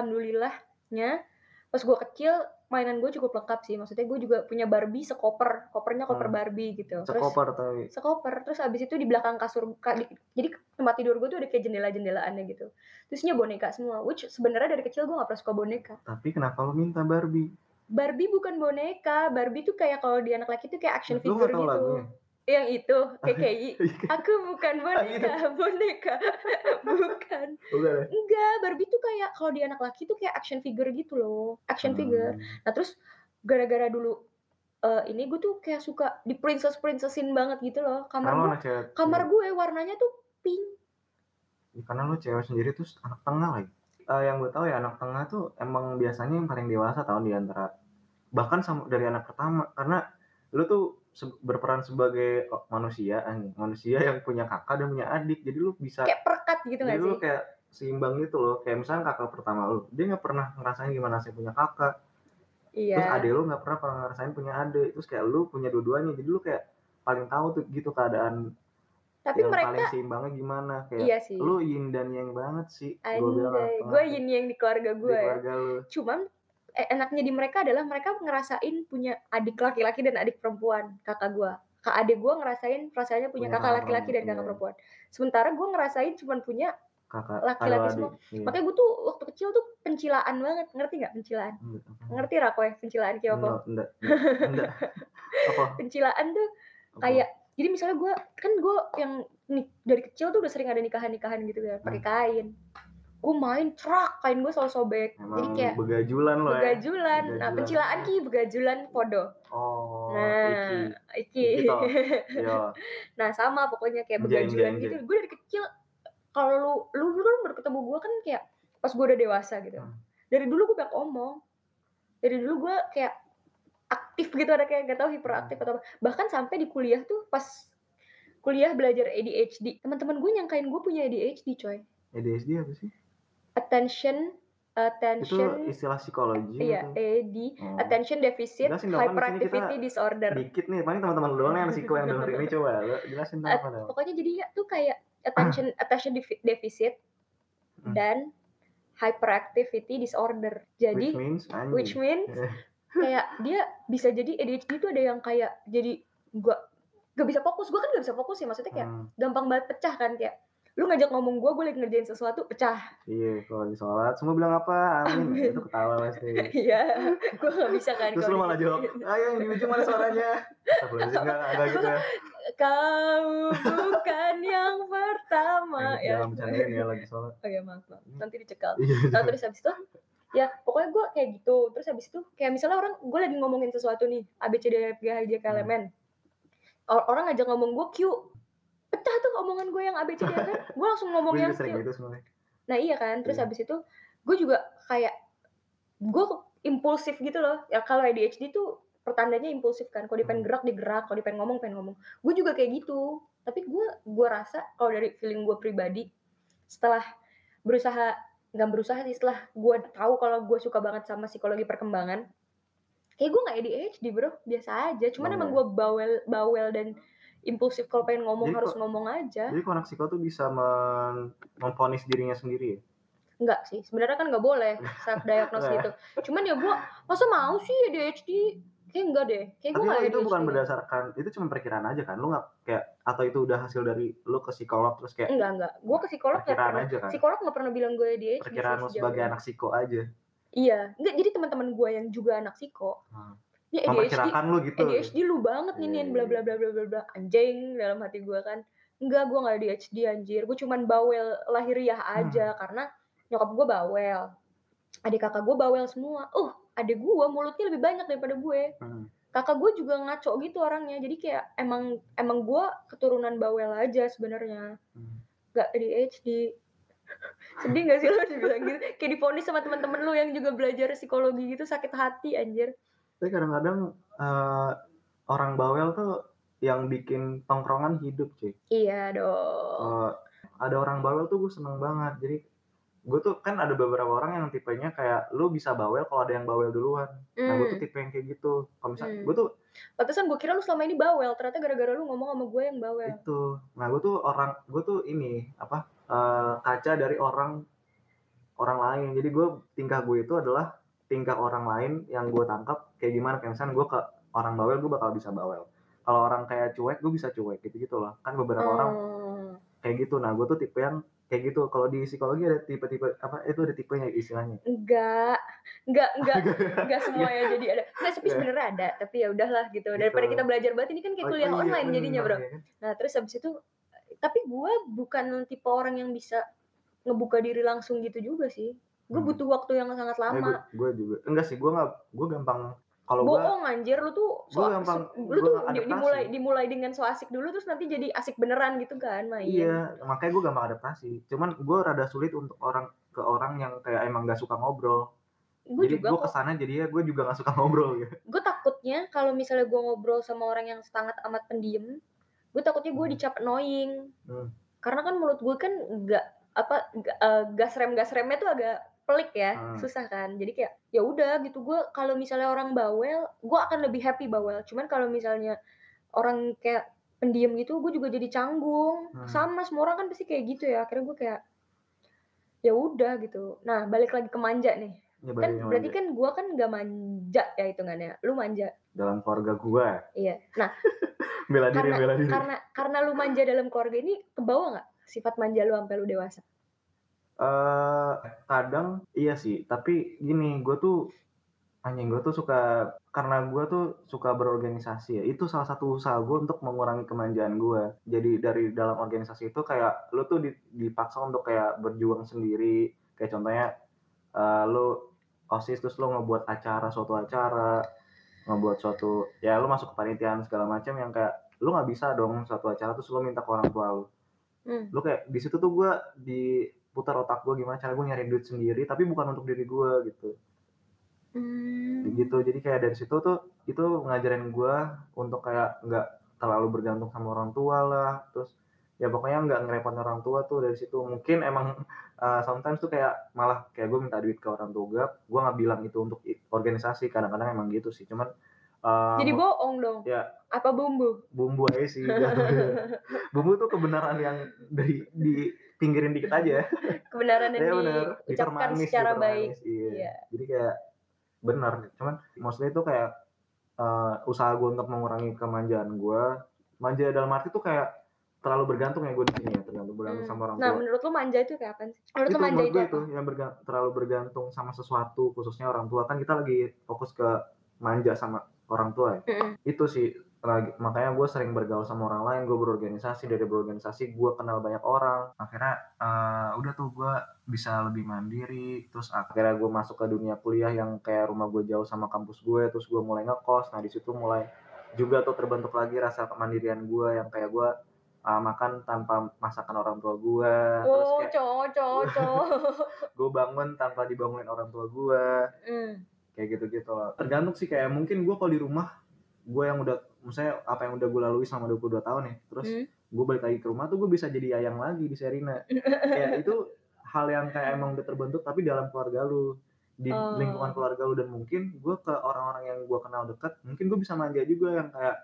B: alhamdulillahnya pas gue kecil mainan gue cukup lengkap sih maksudnya gue juga punya Barbie sekoper kopernya koper
A: Hmm.
B: Barbie gitu terus
A: sekoper tapi
B: sekoper terus abis itu di belakang kasur ka- di- jadi tempat tidur gue tuh ada kayak jendela jendelaannya gitu terusnya boneka semua which sebenarnya dari kecil gue nggak pernah suka boneka
A: tapi kenapa lu minta Barbie
B: Barbie bukan boneka, Barbie tuh kayak kalau di anak laki tuh kayak action
A: lu
B: figure
A: nggak tahu
B: gitu.
A: lagunya Iya,
B: yang itu KKI aku bukan
A: Ah, gitu.
B: boneka boneka bukan
A: Bukan ya?
B: enggak Barbie tuh kayak kalau di anak laki tuh kayak action figure gitu loh action figure
A: Hmm.
B: nah terus gara-gara dulu eh, ini gue tuh kayak suka di princess princessin banget gitu loh kamar
A: Karena
B: gue
A: anak cewek.
B: kamar gue warnanya tuh pink
A: Ya, karena lu cewek sendiri tuh anak tengah lagi. Eh, yang gue tahu ya anak tengah tuh emang biasanya yang paling dewasa tahun di antara bahkan sama dari anak pertama karena lu tuh se- berperan sebagai oh, manusia anjing, manusia yang punya kakak dan punya adik jadi lu bisa
B: kayak perkat gitu
A: jadi
B: nggak
A: lu
B: sih
A: kayak seimbang gitu loh kayak misalnya kakak pertama lu dia nggak pernah ngerasain gimana sih punya kakak terus
B: iya
A: adik lu nggak pernah pernah ngerasain punya adik terus kayak lu punya dua-duanya jadi lu kayak paling tahu tuh gitu keadaan
B: tapi
A: yang paling
B: mereka
A: seimbangnya gimana kayak
B: iya sih
A: lu yin dan yang banget sih Gua bilang anak
B: Anjay,
A: tengah
B: gue
A: tuh,
B: yin yang di keluarga
A: di
B: gue ya.
A: keluarga lu
B: Cuman eh, enaknya di mereka adalah mereka ngerasain punya adik laki-laki dan adik perempuan kakak gue. Kak adik gue ngerasain rasanya
A: Punya
B: punya, kakak
A: kakak
B: laki-laki dan kakak
A: perempuan, iya.
B: perempuan. Sementara gue ngerasain cuman punya,
A: kakak
B: Laki-laki
A: adik-adik.
B: semua.
A: Iya.
B: makanya gue tuh waktu kecil tuh pencilaan banget, ngerti nggak pencilaan?
A: Iya, Enggak, apa?
B: Ngerti rakoy pencilaan kayak apa?
A: Enggak, enggak, enggak, enggak. Apa?
B: Pencilaan tuh
A: Apa?
B: kayak jadi misalnya gue kan gue yang nik- dari kecil tuh udah sering ada nikahan-nikahan gitu kan, pakai
A: Hmm.
B: kain. Gue main truk, kain gue selalu sobek.
A: Emang
B: jadi kayak
A: begajulan lo ya.
B: begajulan. Nah,
A: Begajulan.
B: pencilaan ki begajulan podo.
A: Oh, Iya. iki.
B: Nah, iki.
A: Iki Gitu toh. Yo.
B: nah, sama pokoknya kayak
A: Anjay,
B: begajulan
A: anjay,
B: gitu. Gue dari kecil kalau lu lu kan baru ketemu gue kan kayak pas gue udah dewasa gitu.
A: Hmm.
B: Dari dulu gue banyak omong. Dari dulu gue kayak aktif gitu ada kayak gak tau hiperaktif
A: Hmm.
B: atau apa. Bahkan sampai di kuliah tuh pas kuliah belajar ADHD. Teman-teman gue nyangkain gue punya ADHD, coy.
A: ADHD apa sih?
B: Attention
A: Itu
B: attention
A: istilah psikologi
B: iya,
A: atau-
B: AD
A: Oh.
B: attention deficit
A: Jelasin dong, kan di sini
B: hyperactivity disorder.
A: Dikit nih, paling teman-teman lu doang yang ada psiko yang denger ini coba lo jelasin dong
B: At-
A: apa dong.
B: Pokoknya jadi ya tuh kayak attention attention defi-
A: Ah.
B: deficit
A: Hmm.
B: dan hyperactivity disorder.
A: Which
B: Jadi
A: means anjing.
B: which means kayak dia bisa jadi ADHD itu ada yang kayak jadi gua gak bisa fokus. Gua kan gak bisa fokus ya maksudnya kayak
A: Hmm,
B: gampang banget pecah kan kayak lu ngajak ngomong gua, gue lagi ngerjain sesuatu pecah
A: iya, kalau di sholat semua bilang apa? Amin.
B: Amin.
A: Itu ketawa pasti.
B: iya gua gak bisa kan
A: Terus
B: kalau
A: lu malah
B: digituin.
A: jawab, ayo yang di ujung mana suaranya? Astagfirullahaladzim, enggak, enggak, enggak gitu ya.
B: kau bukan yang pertama
A: Jangan-
B: ya
A: Jangan bercandain ya lagi sholat.
B: oh ya maaf maaf nanti dicekal
A: Iya,
B: Nah, terus habis itu ya pokoknya gue kayak gitu terus habis itu kayak misalnya orang gue lagi ngomongin sesuatu nih A B C D E F G H I J K L M N Or- orang ngajak ngomong gue Q pecah tuh omongan gue yang A B C D E F G gue langsung ngomong
A: Gue
B: yang
A: juga
B: Q
A: sering gitu sebenarnya.
B: nah iya kan terus
A: Iya.
B: habis itu gue juga kayak gue impulsif gitu loh ya kalau ADHD tuh pertandanya impulsif kan kalau dia pengen
A: Hmm.
B: gerak dia gerak kalau dia pengen ngomong pengen ngomong gue juga kayak gitu tapi gue gue rasa kalau dari feeling gue pribadi setelah berusaha nggak berusaha sih setelah gue tahu kalau gue suka banget sama psikologi perkembangan kayak gue nggak ADHD bro biasa aja cuman
A: Bawel.
B: emang gue bawel bawel dan impulsif kalau pengen
A: iya.
B: ngomong
A: Jadi
B: harus
A: kok-
B: ngomong aja
A: Jadi kalau anak psiko tuh bisa men memponis dirinya sendiri ya?
B: Enggak sih, sebenarnya kan nggak boleh
A: Nah.
B: self diagnose
A: Nggak
B: gitu. Cuman ya gue masa mau sih ya ADHD? Kayak enggak deh. Kayak gitu? gue
A: Tapi
B: nggak
A: lo itu
B: ADHD.
A: bukan berdasarkan, itu cuma perkiraan aja kan? Lu nggak kayak, atau itu udah hasil dari lu ke psikolog terus kayak
B: Enggak, enggak. Gue ke psikolog nggak
A: perkiraan
B: pernah.
A: aja kan?
B: Psikolog nggak pernah bilang gue ADHD. sih
A: Perkiraan lu
B: sejauh
A: sebagai
B: ini.
A: anak psiko aja.
B: Iya, enggak. Jadi teman-teman gue yang juga anak psiko, Ya,
A: Hmm.
B: ini ADHD,
A: Memperkirakan lu gitu.
B: ADHD lu banget nih nih,
A: Iya,
B: bla
A: iya,
B: bla bla bla bla bla. Anjing dalam hati gue kan. Enggak, gue nggak ADHD anjir. Gue cuman bawel lahiriah
A: Hmm.
B: aja karena nyokap gue bawel. Adik kakak gue bawel semua. Uh, adik gue mulutnya lebih banyak daripada gue.
A: Hmm.
B: kakak gue juga ngaco gitu orangnya jadi kayak emang emang gue keturunan bawel aja sebenarnya
A: Hmm.
B: gak ADHD sedih gak sih lo dibilang gitu kayak difonis sama teman-teman lo yang juga belajar psikologi gitu sakit hati anjir
A: Tapi kadang-kadang eh, orang bawel tuh yang bikin tongkrongan hidup cuy.
B: iya dong
A: Eh, ada orang bawel tuh gue seneng banget jadi gue tuh kan ada beberapa orang yang tipenya kayak lu bisa bawel kalau ada yang bawel duluan nah gue tuh
B: hmm.
A: tipe yang kayak gitu kalau misalnya
B: Hmm.
A: gue tuh
B: Pantesan gue kira lu selama ini bawel ternyata gara-gara lu ngomong sama gue yang bawel
A: itu nah gue tuh orang gue tuh ini apa eh, kaca dari orang orang lain jadi gue tingkah gue itu adalah tingkah orang lain yang gue tangkap kayak gimana kayak misalnya gue ke orang bawel gue bakal bisa bawel kalau orang kayak cuek gue bisa cuek gitu gitu loh kan beberapa orang
B: Hmm.
A: kayak gitu nah gue tuh tipe yang kayak kayak gitu kalau di psikologi ada tipe-tipe apa itu ada tipenya istilahnya
B: enggak enggak enggak enggak semuanya jadi ada enggak tapi sebenarnya ada tapi ya udahlah gitu daripada
A: Iya. Gitu.
B: kita belajar banget ini kan kayak kuliah
A: Oh, iya,
B: online jadinya bro
A: bener, ya kan?
B: nah terus habis itu tapi gue bukan tipe orang yang bisa ngebuka diri langsung gitu juga sih gue
A: Hmm.
B: butuh waktu yang sangat
A: Eh,
B: lama
A: gua- gua juga enggak sih gua nggak gua gampang kalau gua
B: bohong anjir lu tuh so,
A: gua gampang-
B: so- lu
A: gua
B: tuh
A: adaptasi.
B: di- dimulai dimulai dengan so asik dulu terus nanti jadi asik beneran gitu kan main
A: Iya, makanya gue gampang adaptasi. Cuman gue rada sulit untuk orang ke orang yang kayak emang gak suka ngobrol.
B: gue
A: jadi
B: juga
A: gue kesana jadinya gue juga gak suka ngobrol gitu.
B: gue takutnya kalau misalnya gue ngobrol sama orang yang sangat amat pendiam gue takutnya gue dicap annoying
A: Hmm.
B: karena kan menurut gue kan nggak apa nggak, eh, gas rem gas remnya tuh agak pelik ya
A: Hmm.
B: susah kan jadi kayak ya udah gitu gue kalau misalnya orang bawel gue akan lebih happy bawel cuman kalau misalnya orang kayak pendiam gitu gue juga jadi canggung
A: Hmm.
B: sama semua orang kan pasti kayak gitu ya akhirnya gue kayak ya udah gitu nah balik lagi ke manja nih kan
A: Nyebarin
B: berarti
A: aja.
B: kan gue kan nggak manja ya hitungannya lu manja
A: dalam keluarga gue
B: Iya. Nah,
A: bela diri
B: karena
A: bela diri.
B: karena karena lu manja dalam keluarga ini kebawa nggak sifat manja lu sampai lu dewasa?
A: Eh, kadang iya sih, tapi gini gue tuh anjing gue tuh suka karena gue tuh suka berorganisasi ya itu salah satu usaha gue untuk mengurangi kemanjaan gue jadi dari dalam organisasi itu kayak lu tuh di- dipaksa untuk kayak berjuang sendiri kayak contohnya eh, lu osis terus lu ngebuat acara suatu acara ngebuat suatu ya lu masuk kepanitiaan segala macam yang kayak lu nggak bisa dong suatu acara terus lu minta ke orang tua lu
B: Hmm.
A: lu kayak di situ tuh gue diputar otak gue gimana cara gue nyari duit sendiri tapi bukan untuk diri gue gitu gitu jadi kayak dari situ tuh itu ngajarin gue untuk kayak nggak terlalu bergantung sama orang tua lah terus ya pokoknya nggak ngerepotin orang tua tuh dari situ mungkin emang uh, sometimes tuh kayak malah kayak gue minta duit ke orang tua gue gue nggak bilang itu untuk i- organisasi kadang-kadang emang gitu sih cuman uh,
B: Jadi
A: mau-
B: bohong dong.
A: Ya.
B: Apa bumbu?
A: bumbu aja sih bumbu tuh kebenaran yang dari di pinggirin dikit aja
B: Kebenaran yang
A: Iya benar, bitter
B: diucapkan
A: manis,
B: secara
A: bitter
B: baik.
A: manis, Iya.
B: Iya.
A: Jadi kayak benar, cuman mostly itu kayak eh, usaha gue untuk mengurangi kemanjaan gue. Manja dalam arti tuh kayak terlalu bergantung ya gue di sini ya, tergantung bergantung
B: Hmm.
A: sama orang
B: Nah,
A: tua.
B: menurut lu manja itu kayak apa sih? Menurut
A: itu
B: lu manja
A: menurut
B: itu
A: gue
B: apa?
A: itu yang berga- terlalu bergantung sama sesuatu khususnya orang tua kan kita lagi fokus ke manja sama orang tua ya.
B: Mm-mm.
A: Itu sih lagi- makanya gue sering bergaul sama orang lain gue berorganisasi dari berorganisasi gue kenal banyak orang akhirnya eh, udah tuh gue bisa lebih mandiri terus akhirnya gue masuk ke dunia kuliah yang kayak rumah gue jauh sama kampus gue terus gue mulai ngekos nah di situ mulai juga tuh terbentuk lagi rasa kemandirian gue yang kayak gue eh, makan tanpa masakan orang tua gue terus
B: Oh,
A: kayak
B: cowok, cowok, cowok.
A: gue bangun tanpa dibangunin orang tua gue
B: Hmm.
A: kayak gitu-gitu lah. tergantung sih kayak mungkin gue kalau di rumah gue yang udah misalnya apa yang udah gue lalui selama 22 tahun ya terus
B: Hmm.
A: gue balik lagi ke rumah tuh gue bisa jadi ayang lagi di Serina ya itu hal yang kayak emang udah terbentuk tapi dalam keluarga lu di
B: Oh.
A: lingkungan keluarga lu dan mungkin gue ke orang-orang yang gue kenal dekat mungkin gue bisa manja juga yang kayak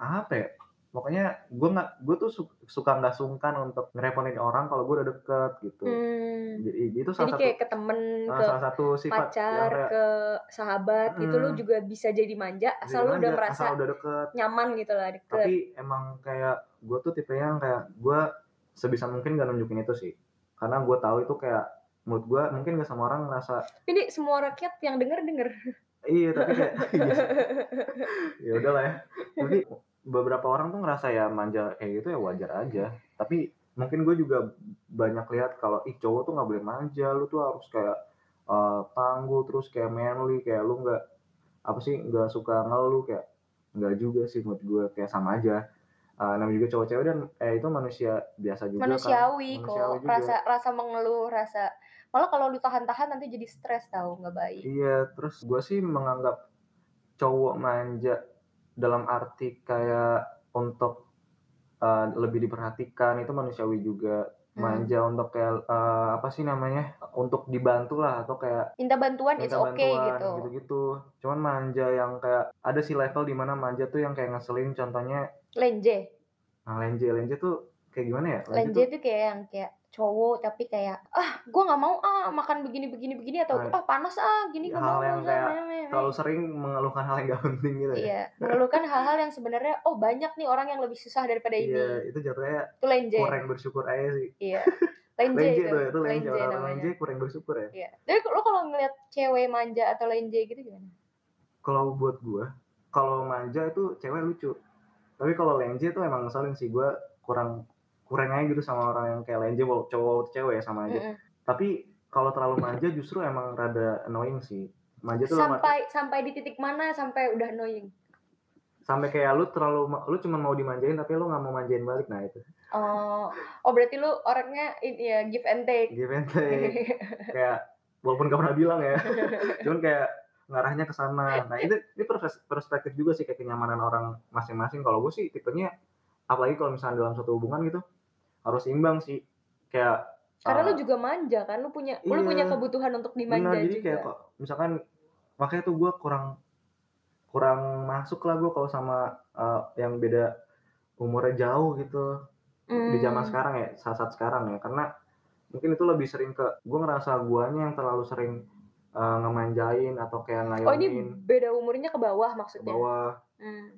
A: apa ya pokoknya gue nggak gue tuh su- suka nggak sungkan untuk ngerepotin orang kalau gue udah deket gitu
B: Hmm.
A: jadi itu
B: Jadi
A: salah satu
B: kayak ke temen,
A: Nah,
B: ke
A: salah satu sifat
B: pacar,
A: yang kayak
B: ke sahabat gitu lu
A: Mm.
B: juga bisa jadi manja asal lu
A: gimana
B: udah
A: ya,
B: merasa
A: asal udah deket
B: nyaman gitu lah deket.
A: tapi emang kayak gue tuh tipe yang kayak gue sebisa mungkin gak nunjukin itu sih karena gue tahu itu kayak menurut gue mungkin gak semua orang ngerasa
B: Ini semua rakyat yang denger denger.
A: iya tapi kayak iya sih. ya udahlah ya tapi beberapa orang tuh ngerasa ya manja kayak gitu ya wajar aja tapi mungkin gue juga banyak lihat kalau ih cowok tuh nggak boleh manja lu tuh harus kayak eh, tangguh terus kayak manly kayak lu nggak apa sih nggak suka ngeluh kayak nggak juga sih menurut gue kayak sama aja Eh, namanya juga cowok cewek dan eh itu manusia biasa juga kan.
B: manusiawi kok
A: Manusiawi juga.
B: rasa rasa mengeluh rasa malah kalau lu tahan-tahan nanti jadi stres tahu nggak baik
A: Iya, terus gue sih menganggap cowok manja dalam arti kayak untuk uh, lebih diperhatikan itu manusiawi juga
B: Hmm.
A: manja untuk kayak uh, apa sih namanya untuk dibantu lah atau kayak
B: minta bantuan it's
A: minta
B: okay
A: bantuan,
B: gitu
A: gitu-gitu. Cuman manja yang kayak ada sih level di mana manja tuh yang kayak ngeselin contohnya
B: lenje
A: nah, lenje lenje tuh kayak gimana ya?
B: lenje
A: tuh
B: tuh kayak yang kayak cowok tapi kayak ah gue nggak mau ah makan begini begini begini atau
A: Nah,
B: ah panas ah gini gue
A: hal
B: mau
A: yang
B: ah,
A: kayak
B: meh, meh, meh."
A: terlalu sering mengeluhkan hal yang gak penting gitu ya.
B: Iya, mengeluhkan hal-hal yang sebenarnya oh
A: Iya.
B: banyak nih orang yang lebih susah daripada ini.
A: itu jatuhnya
B: Itu lenje.
A: kurang bersyukur aja sih.
B: Iya. lenje,
A: lenje
B: itu
A: tuh itu lenje
B: lenje
A: orang-orang
B: namanya.
A: lenje kurang bersyukur ya
B: Iya. Tapi lo kalau ngeliat cewek manja atau lenje gitu gimana?
A: kalau buat gua kalau manja itu cewek lucu tapi kalau lenje itu emang ngeselin sih gua kurang kurang aja gitu sama orang yang kayak lenje walau cowok cewek ya, sama aja
B: Mm-mm.
A: tapi kalau terlalu manja justru emang rada annoying sih manja tuh dalam arti-
B: Sampai sampai di titik mana sampai udah annoying?
A: sampai kayak lu terlalu ma- lu cuma mau dimanjain tapi lu nggak mau manjain balik nah itu
B: Oh, oh berarti lu orangnya ini ya give and take.
A: give and take. kayak walaupun gak pernah bilang ya cuman kayak ngarahnya ke sana nah itu ini pers- perspektif juga sih kayak kenyamanan orang masing-masing kalau gue sih tipenya apalagi kalau misalnya dalam suatu hubungan gitu harus imbang sih kayak
B: Karena
A: uh,
B: lu juga manja kan, lu punya lu
A: Iya.
B: punya kebutuhan untuk dimanja
A: benar jadi
B: juga.
A: kayak kok misalkan makanya tuh gue kurang kurang masuk lah gue kalau sama uh, yang beda umurnya jauh gitu di zaman
B: Hmm.
A: sekarang ya saat saat sekarang ya karena mungkin itu lebih sering ke gue ngerasa guanya yang terlalu sering eh, ngemanjain atau kayak ngayomin
B: Oh, ini beda umurnya ke bawah
A: ke
B: maksudnya.
A: bawah
B: Hmm.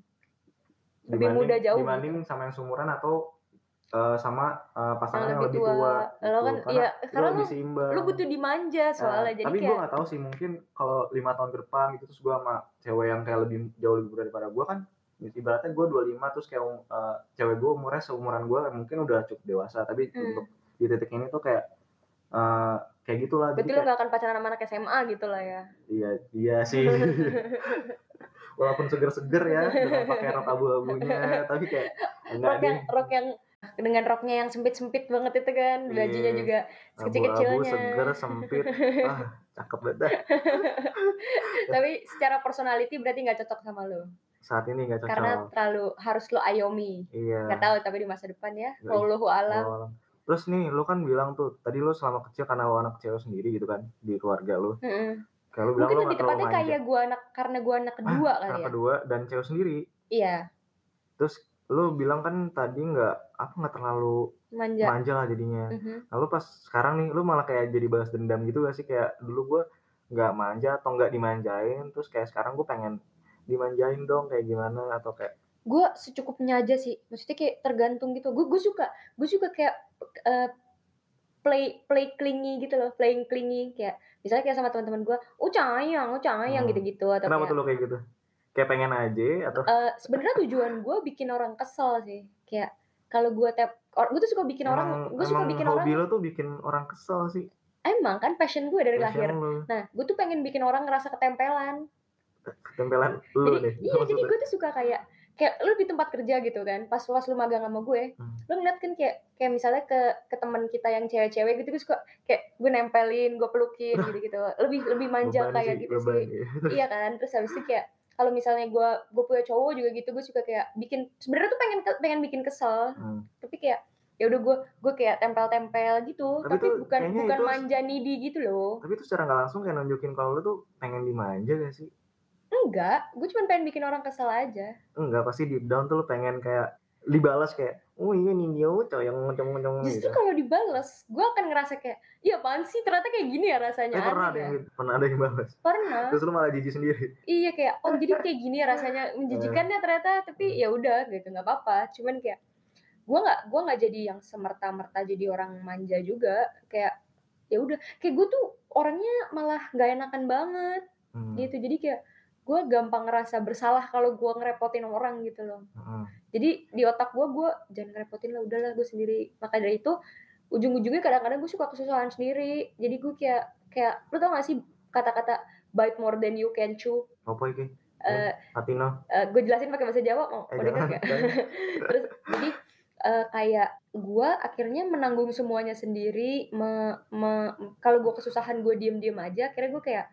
B: Lebih muda jauh
A: dibanding sama yang seumuran atau eh, sama eh, pasangan yang lebih tua, gitu.
B: Lo kan
A: Karena
B: iya,
A: itu
B: karena
A: lebih
B: lu,
A: seimbang
B: lu butuh dimanja soalnya.
A: Nah,
B: jadi
A: tapi gue
B: kayak
A: nggak tahu sih mungkin kalau lima tahun ke depan gitu terus gue sama cewek yang kayak lebih jauh lebih muda daripada gue kan ibaratnya gue 25 terus kayak um, eh, cewek gue umurnya seumuran gue mungkin udah cukup dewasa tapi
B: Hmm.
A: untuk di titik ini tuh kayak eh, kayak gitulah
B: berarti lu gak akan pacaran sama anak SMA gitu lah ya.
A: iya iya sih walaupun seger-seger ya dengan pakai rok abu-abunya tapi kayak enggak
B: Rok
A: deh
B: yang rok yang dengan roknya yang sempit-sempit banget itu kan, bajunya
A: Iya.
B: juga
A: abu-abu
B: sekecil-kecilnya.
A: seger sempit ah cakep banget dah.
B: tapi secara personality berarti nggak cocok sama lu.
A: saat ini nggak cocok
B: Karena terlalu harus lu ayomi.
A: iya
B: Gak tahu tapi di masa depan ya.
A: Iya.
B: Wallahu alam.
A: Oh. Terus nih, lu kan bilang tuh, tadi lu selama kecil karena lu anak cewek sendiri gitu kan, di keluarga lu.
B: Mm-mm.
A: Kayak lu bilang
B: Mungkin
A: lu
B: lebih
A: gak terlalu
B: tepatnya
A: manja.
B: kayak gua anak karena gua anak kedua kali
A: Anak
B: ya.
A: kedua dan cewek sendiri.
B: Iya,
A: Terus lu bilang kan tadi nggak apa nggak terlalu
B: manja.
A: manja lah jadinya.
B: Mhm.
A: Lalu pas sekarang nih, lu malah kayak jadi balas dendam gitu gak sih? Kayak dulu gue nggak manja atau nggak dimanjain, terus kayak sekarang gue pengen dimanjain dong kayak gimana atau kayak
B: Gua secukupnya aja sih. Maksudnya kayak tergantung gitu. Gue suka, gue suka kayak eh, play play clingy gitu loh, playing clingy kayak misalnya kayak sama teman-teman gua, "Oh, sayang, oh, sayang"
A: Hmm.
B: gitu-gitu atau
A: kenapa
B: kayak
A: tuh lu kayak gitu? Kayak pengen aja atau
B: Eh, sebenarnya tujuan gue bikin orang kesel sih. Kayak kalau gua tap gue tuh suka bikin orang,
A: emang,
B: gue
A: emang
B: suka bikin orang
A: hobi lu tuh bikin orang kesel sih.
B: emang kan passion gue dari lahir.
A: Passion lu.
B: Nah, gue tuh pengen bikin orang ngerasa ketempelan.
A: tempelan lu
B: jadi,
A: deh
B: iya, jadi gue tuh suka kayak kayak lu di tempat kerja gitu kan, pas pas lu magang sama gue,
A: Hmm.
B: lu ngeliat kan kayak kayak misalnya ke ke teman kita yang cewek-cewek gitu, gue suka kayak gue nempelin, gue pelukin gitu-gitu. Lebih lebih manja kayak gitu sih. Iya kan, terus habis itu kayak kalau misalnya gue gue punya cowok juga gitu, gue suka kayak bikin sebenarnya tuh pengen ke- pengen bikin kesel,
A: Hmm.
B: tapi kayak ya udah gue gue kayak tempel-tempel gitu,
A: Tapi
B: tapi,
A: tuh
B: bukan
A: kayaknya
B: bukan
A: itu-
B: manja needy gitu loh.
A: tapi itu secara nggak langsung kayak nunjukin kalau lu tuh pengen dimanja gak sih
B: Enggak, gue cuma pengen bikin orang kesel aja.
A: enggak pasti deep down tuh lu pengen kayak dibalas kayak oh iya nih dia cowok yang ngocong ngocong
B: Justru
A: gitu
B: kalau dibales, gue akan ngerasa kayak, iya apaan sih ternyata kayak gini ya rasanya.
A: tapi pernah ada
B: aneh ya."
A: yang gitu pernah ada yang balas
B: Pernah.
A: terus lu malah jijik sendiri
B: Iya kayak, oh jadi kayak gini ya rasanya menjijikan ya ternyata,
A: Hmm.
B: tapi ya udah gitu nggak apa-apa. Cuman kayak gue nggak gua nggak jadi yang semerta-merta jadi orang manja juga. Kayak ya udah, kayak gue tuh orangnya malah nggak enakan banget
A: Hmm,
B: gitu. Jadi kayak gue gampang ngerasa bersalah kalau gue ngerepotin orang gitu loh.
A: hmm.
B: jadi di otak gue gue jangan ngerepotin lah udahlah gue sendiri maka dari itu ujung-ujungnya kadang-kadang gue suka kesusahan sendiri jadi gue kayak kayak lu tau gak sih kata-kata bite more than you can chew
A: apa ini
B: Eh,
A: Atino
B: eh, gue jelasin pakai bahasa Jawa mau
A: eh
B: mau
A: jangan
B: denger nggak? terus jadi eh, kayak gue akhirnya menanggung semuanya sendiri me, me- kalau gue kesusahan gue diem-diem aja akhirnya gue kayak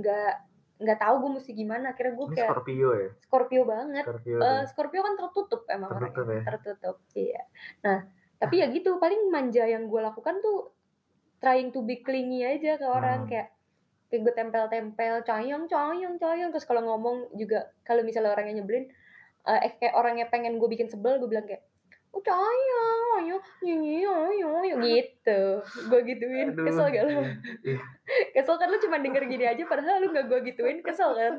B: nggak nggak tahu gue mesti gimana akhirnya gue
A: ini
B: kayak
A: Scorpio ya
B: Scorpio banget
A: Scorpio
B: Eh,
A: tuh.
B: Scorpio kan tertutup emang orangnya.
A: tertutup ya
B: tertutup iya nah tapi ya gitu paling manja yang gue lakukan tuh trying to be clingy aja ke orang
A: Hmm.
B: kayak kayak gue tempel-tempel coyong coyong coyong terus kalau ngomong juga kalau misalnya orangnya nyebelin eh, eh kayak orangnya pengen gue bikin sebel gue bilang kayak oh coyong ayo nyi ayo ayo gitu gue gituin
A: Aduh.
B: kesel gak lu
A: Iya.
B: kesel kan lu cuma denger gini aja padahal lu gak gue gituin kesel kan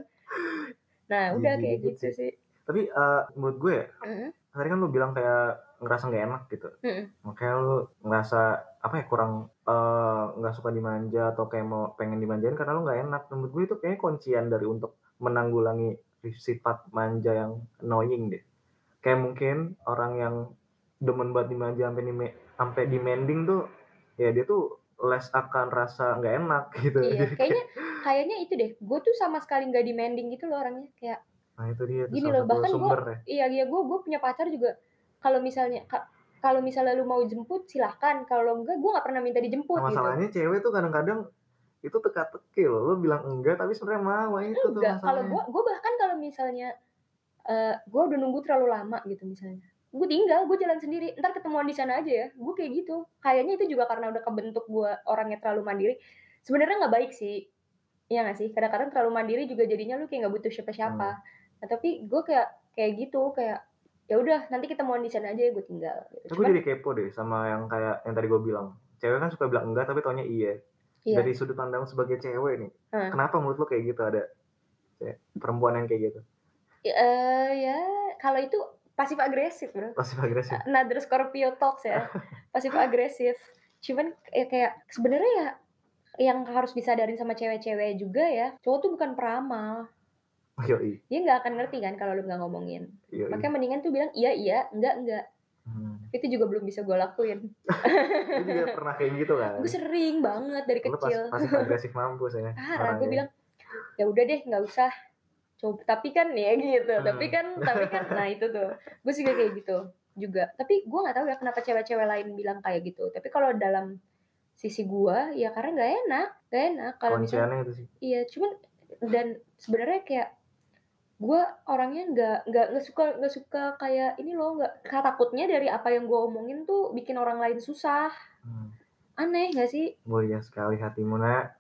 B: nah udah
A: Jijik
B: kayak
A: dikit
B: gitu sih
A: tapi eh, menurut gue ya
B: Mm.
A: tadi kan lu bilang kayak ngerasa nggak enak gitu
B: Mm-mm.
A: makanya lu ngerasa apa ya kurang eh, nggak suka dimanja atau kayak mau pengen dimanjain karena lu nggak enak menurut gue itu kayaknya kuncian dari untuk menanggulangi sifat manja yang annoying deh kayak mungkin orang yang demen banget dimanja sampai dime- sampai demanding tuh ya dia tuh less akan rasa nggak enak gitu
B: Iya,
A: Jadi
B: kayaknya kayaknya itu deh. Gue tuh sama sekali nggak demanding gitu loh orangnya. Kayak
A: nah itu dia tuh
B: Gini
A: salah
B: loh,
A: satu
B: bahkan gua-
A: sumber ya
B: iya iya gue gue punya pacar juga kalau misalnya ka- kalau misalnya lu mau jemput silahkan. Kalau enggak gue nggak pernah minta dijemput
A: Nah,
B: gitu.
A: masalahnya cewek tuh kadang-kadang itu teka-teki loh. Lo bilang enggak tapi sebenarnya mau. Itu Gitu tuh
B: Enggak, kalau
A: masalahnya.
B: gue gue bahkan kalau misalnya eh gue udah nunggu terlalu lama gitu misalnya. Gue tinggal, gue jalan sendiri. Ntar ketemuan di sana aja ya. Gue kayak gitu. Kayaknya itu juga karena udah kebentuk gue orangnya terlalu mandiri. Sebenarnya nggak baik sih. Iya gak sih? Kadang-kadang terlalu mandiri juga jadinya lu kayak nggak butuh siapa-siapa.
A: Hmm.
B: Nah, tapi gue kayak kayak gitu, kayak ya udah nanti ketemuan di sana aja ya gue tinggal. Gitu.
A: Aku
B: Cuman-
A: jadi kepo deh sama yang kayak yang tadi gue bilang. Cewek kan suka bilang enggak tapi taunya iya.
B: Iya.
A: Dari sudut pandang sebagai cewek nih.
B: Hmm.
A: Kenapa menurut lo kayak gitu ada kayak perempuan yang kayak gitu?
B: Ya, eh, ya kalau itu pasif agresif bro
A: Pasif agresif.
B: another Scorpio talks ya pasif agresif cuman ya kayak sebenarnya ya yang harus disadarin sama cewek-cewek juga ya cowok tuh bukan peramal
A: Yoi.
B: dia nggak akan ngerti kan kalau lu nggak ngomongin
A: Yoi.
B: makanya mendingan tuh bilang iya iya enggak enggak
A: Hmm.
B: itu juga belum bisa gue lakuin
A: Lu juga pernah kayak gitu kan?
B: gue sering banget dari
A: Lu pas,
B: kecil
A: pasif agresif mampus ya.
B: parah gue
A: orangnya.
B: Ah, bilang ya udah deh nggak usah coba tapi kan ya gitu tapi kan tapi kan nah itu tuh gue juga kayak gitu juga tapi gue nggak tahu ya kenapa cewek-cewek lain bilang kayak gitu tapi kalau dalam sisi gue ya karena nggak enak nggak enak kalau
A: Kunciannya
B: misalnya
A: itu sih.
B: iya cuman dan sebenarnya kayak gue orangnya nggak nggak nggak suka nggak suka kayak ini loh nggak takutnya dari apa yang gue omongin tuh bikin orang lain susah
A: Hmm.
B: aneh nggak sih
A: Mulia sekali hatimu nak.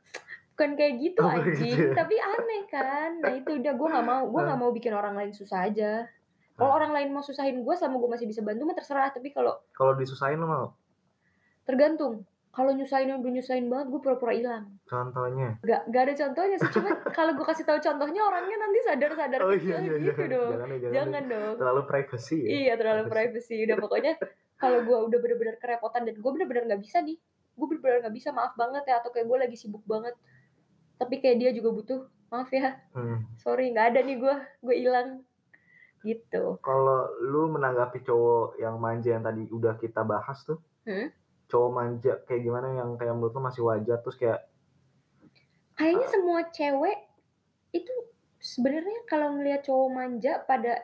B: bukan kayak gitu
A: Oh, bukan
B: anjing
A: gitu ya.
B: tapi aneh kan nah itu udah gue nggak mau gue nggak mau bikin orang lain susah aja kalau orang lain mau susahin gue sama gue masih bisa bantu mah terserah tapi kalau
A: Kalau disusahin lo mau?
B: tergantung kalau nyusahin udah nyusahin banget gue pura-pura hilang
A: Contohnya.
B: gak, gak ada contohnya sih cuma kalau gue kasih tahu contohnya orangnya nanti sadar-sadar
A: Oh
B: kecil gitu
A: iya, jangan,
B: dong
A: jangan, ya, jangan, ya.
B: jangan dong
A: terlalu privacy ya.
B: Iya terlalu
A: Terus-
B: privacy udah pokoknya kalau gue udah bener-bener kerepotan dan gue bener-bener nggak bisa nih gue bener-bener nggak bisa maaf banget ya atau kayak gue lagi sibuk banget tapi kayak dia juga butuh maaf ya
A: Hmm.
B: sorry nggak ada nih gue gue hilang gitu
A: Kalau lu menanggapi cowok yang manja yang tadi udah kita bahas tuh,
B: Hmm.
A: cowok manja kayak gimana yang kayak menurut lu masih wajar terus kayak
B: kayaknya semua cewek itu sebenarnya kalau ngelihat cowok manja pada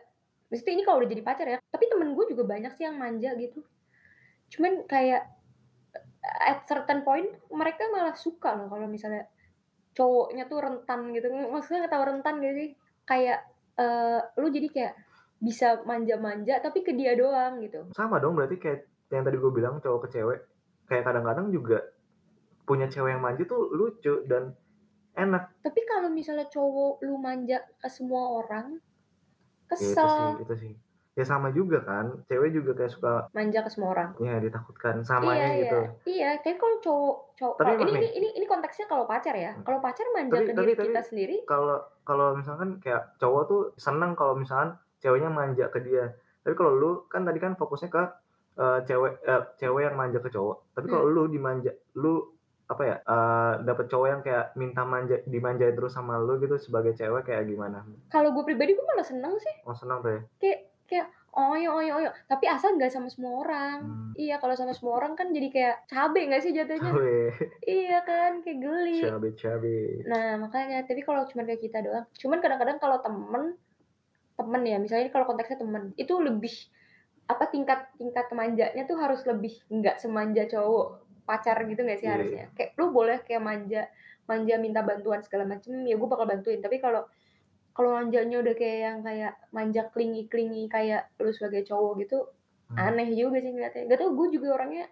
B: mesti ini kalau udah jadi pacar ya tapi temen gue juga banyak sih yang manja gitu cuman kayak at certain point mereka malah suka loh kalau misalnya cowoknya tuh rentan gitu maksudnya nggak tahu rentan gitu sih kayak eh, lu jadi kayak bisa manja-manja tapi ke dia doang gitu
A: sama dong berarti kayak yang tadi gue bilang cowok ke cewek kayak kadang-kadang juga punya cewek yang manja tuh lucu dan enak
B: tapi kalau misalnya cowok lu manja ke semua orang
A: Ya, itu sih
B: kesel
A: itu sih ya sama juga kan cewek juga kayak suka
B: manja ke semua orang
A: ya ditakutkan samanya gitu
B: Iya, iya. Tapi kalau cowok, cowok
A: Tapi
B: kalau- ini,
A: emang Hmm.
B: ini, ini, ini konteksnya kalau pacar ya. Kalau pacar
A: Tapi-
B: manja ke
A: tapi-
B: diri
A: tapi-
B: kita sendiri,
A: kalau kalau misalkan kayak cowok tuh seneng kalau misalkan ceweknya manja ke dia tapi kalau lu kan tadi kan fokusnya ke eh, cewek eh, cewek yang manja ke cowok tapi
B: Hmm.
A: kalau lu dimanja lu apa ya eh, dapet cowok yang kayak minta manja dimanjain terus sama lu gitu sebagai cewek kayak gimana
B: kalau gue pribadi gue malah seneng sih.
A: oh seneng tuh ya
B: Oyo, oyo, oyo. Tapi asal nggak sama semua orang.
A: Hmm.
B: Iya, kalau sama semua orang kan jadi kayak cabe nggak sih jatuhnya?
A: cabe
B: iya kan, kayak geli.
A: cabe cabe
B: Nah, makanya. Tapi kalau cuma kayak kita doang. Cuman kadang-kadang kalau temen, temen ya. Misalnya ini kalau konteksnya temen, itu lebih apa tingkat tingkat manjanya tuh harus lebih nggak semanja cowok pacar gitu nggak sih
A: Iya,
B: harusnya kayak lu boleh kayak manja manja minta bantuan segala macem ya gue bakal bantuin tapi kalau kalau manjanya udah kayak yang kayak manja klingi klingi kayak lu sebagai cowok gitu
A: Hmm.
B: aneh juga sih ngeliatnya gak tau gue juga orangnya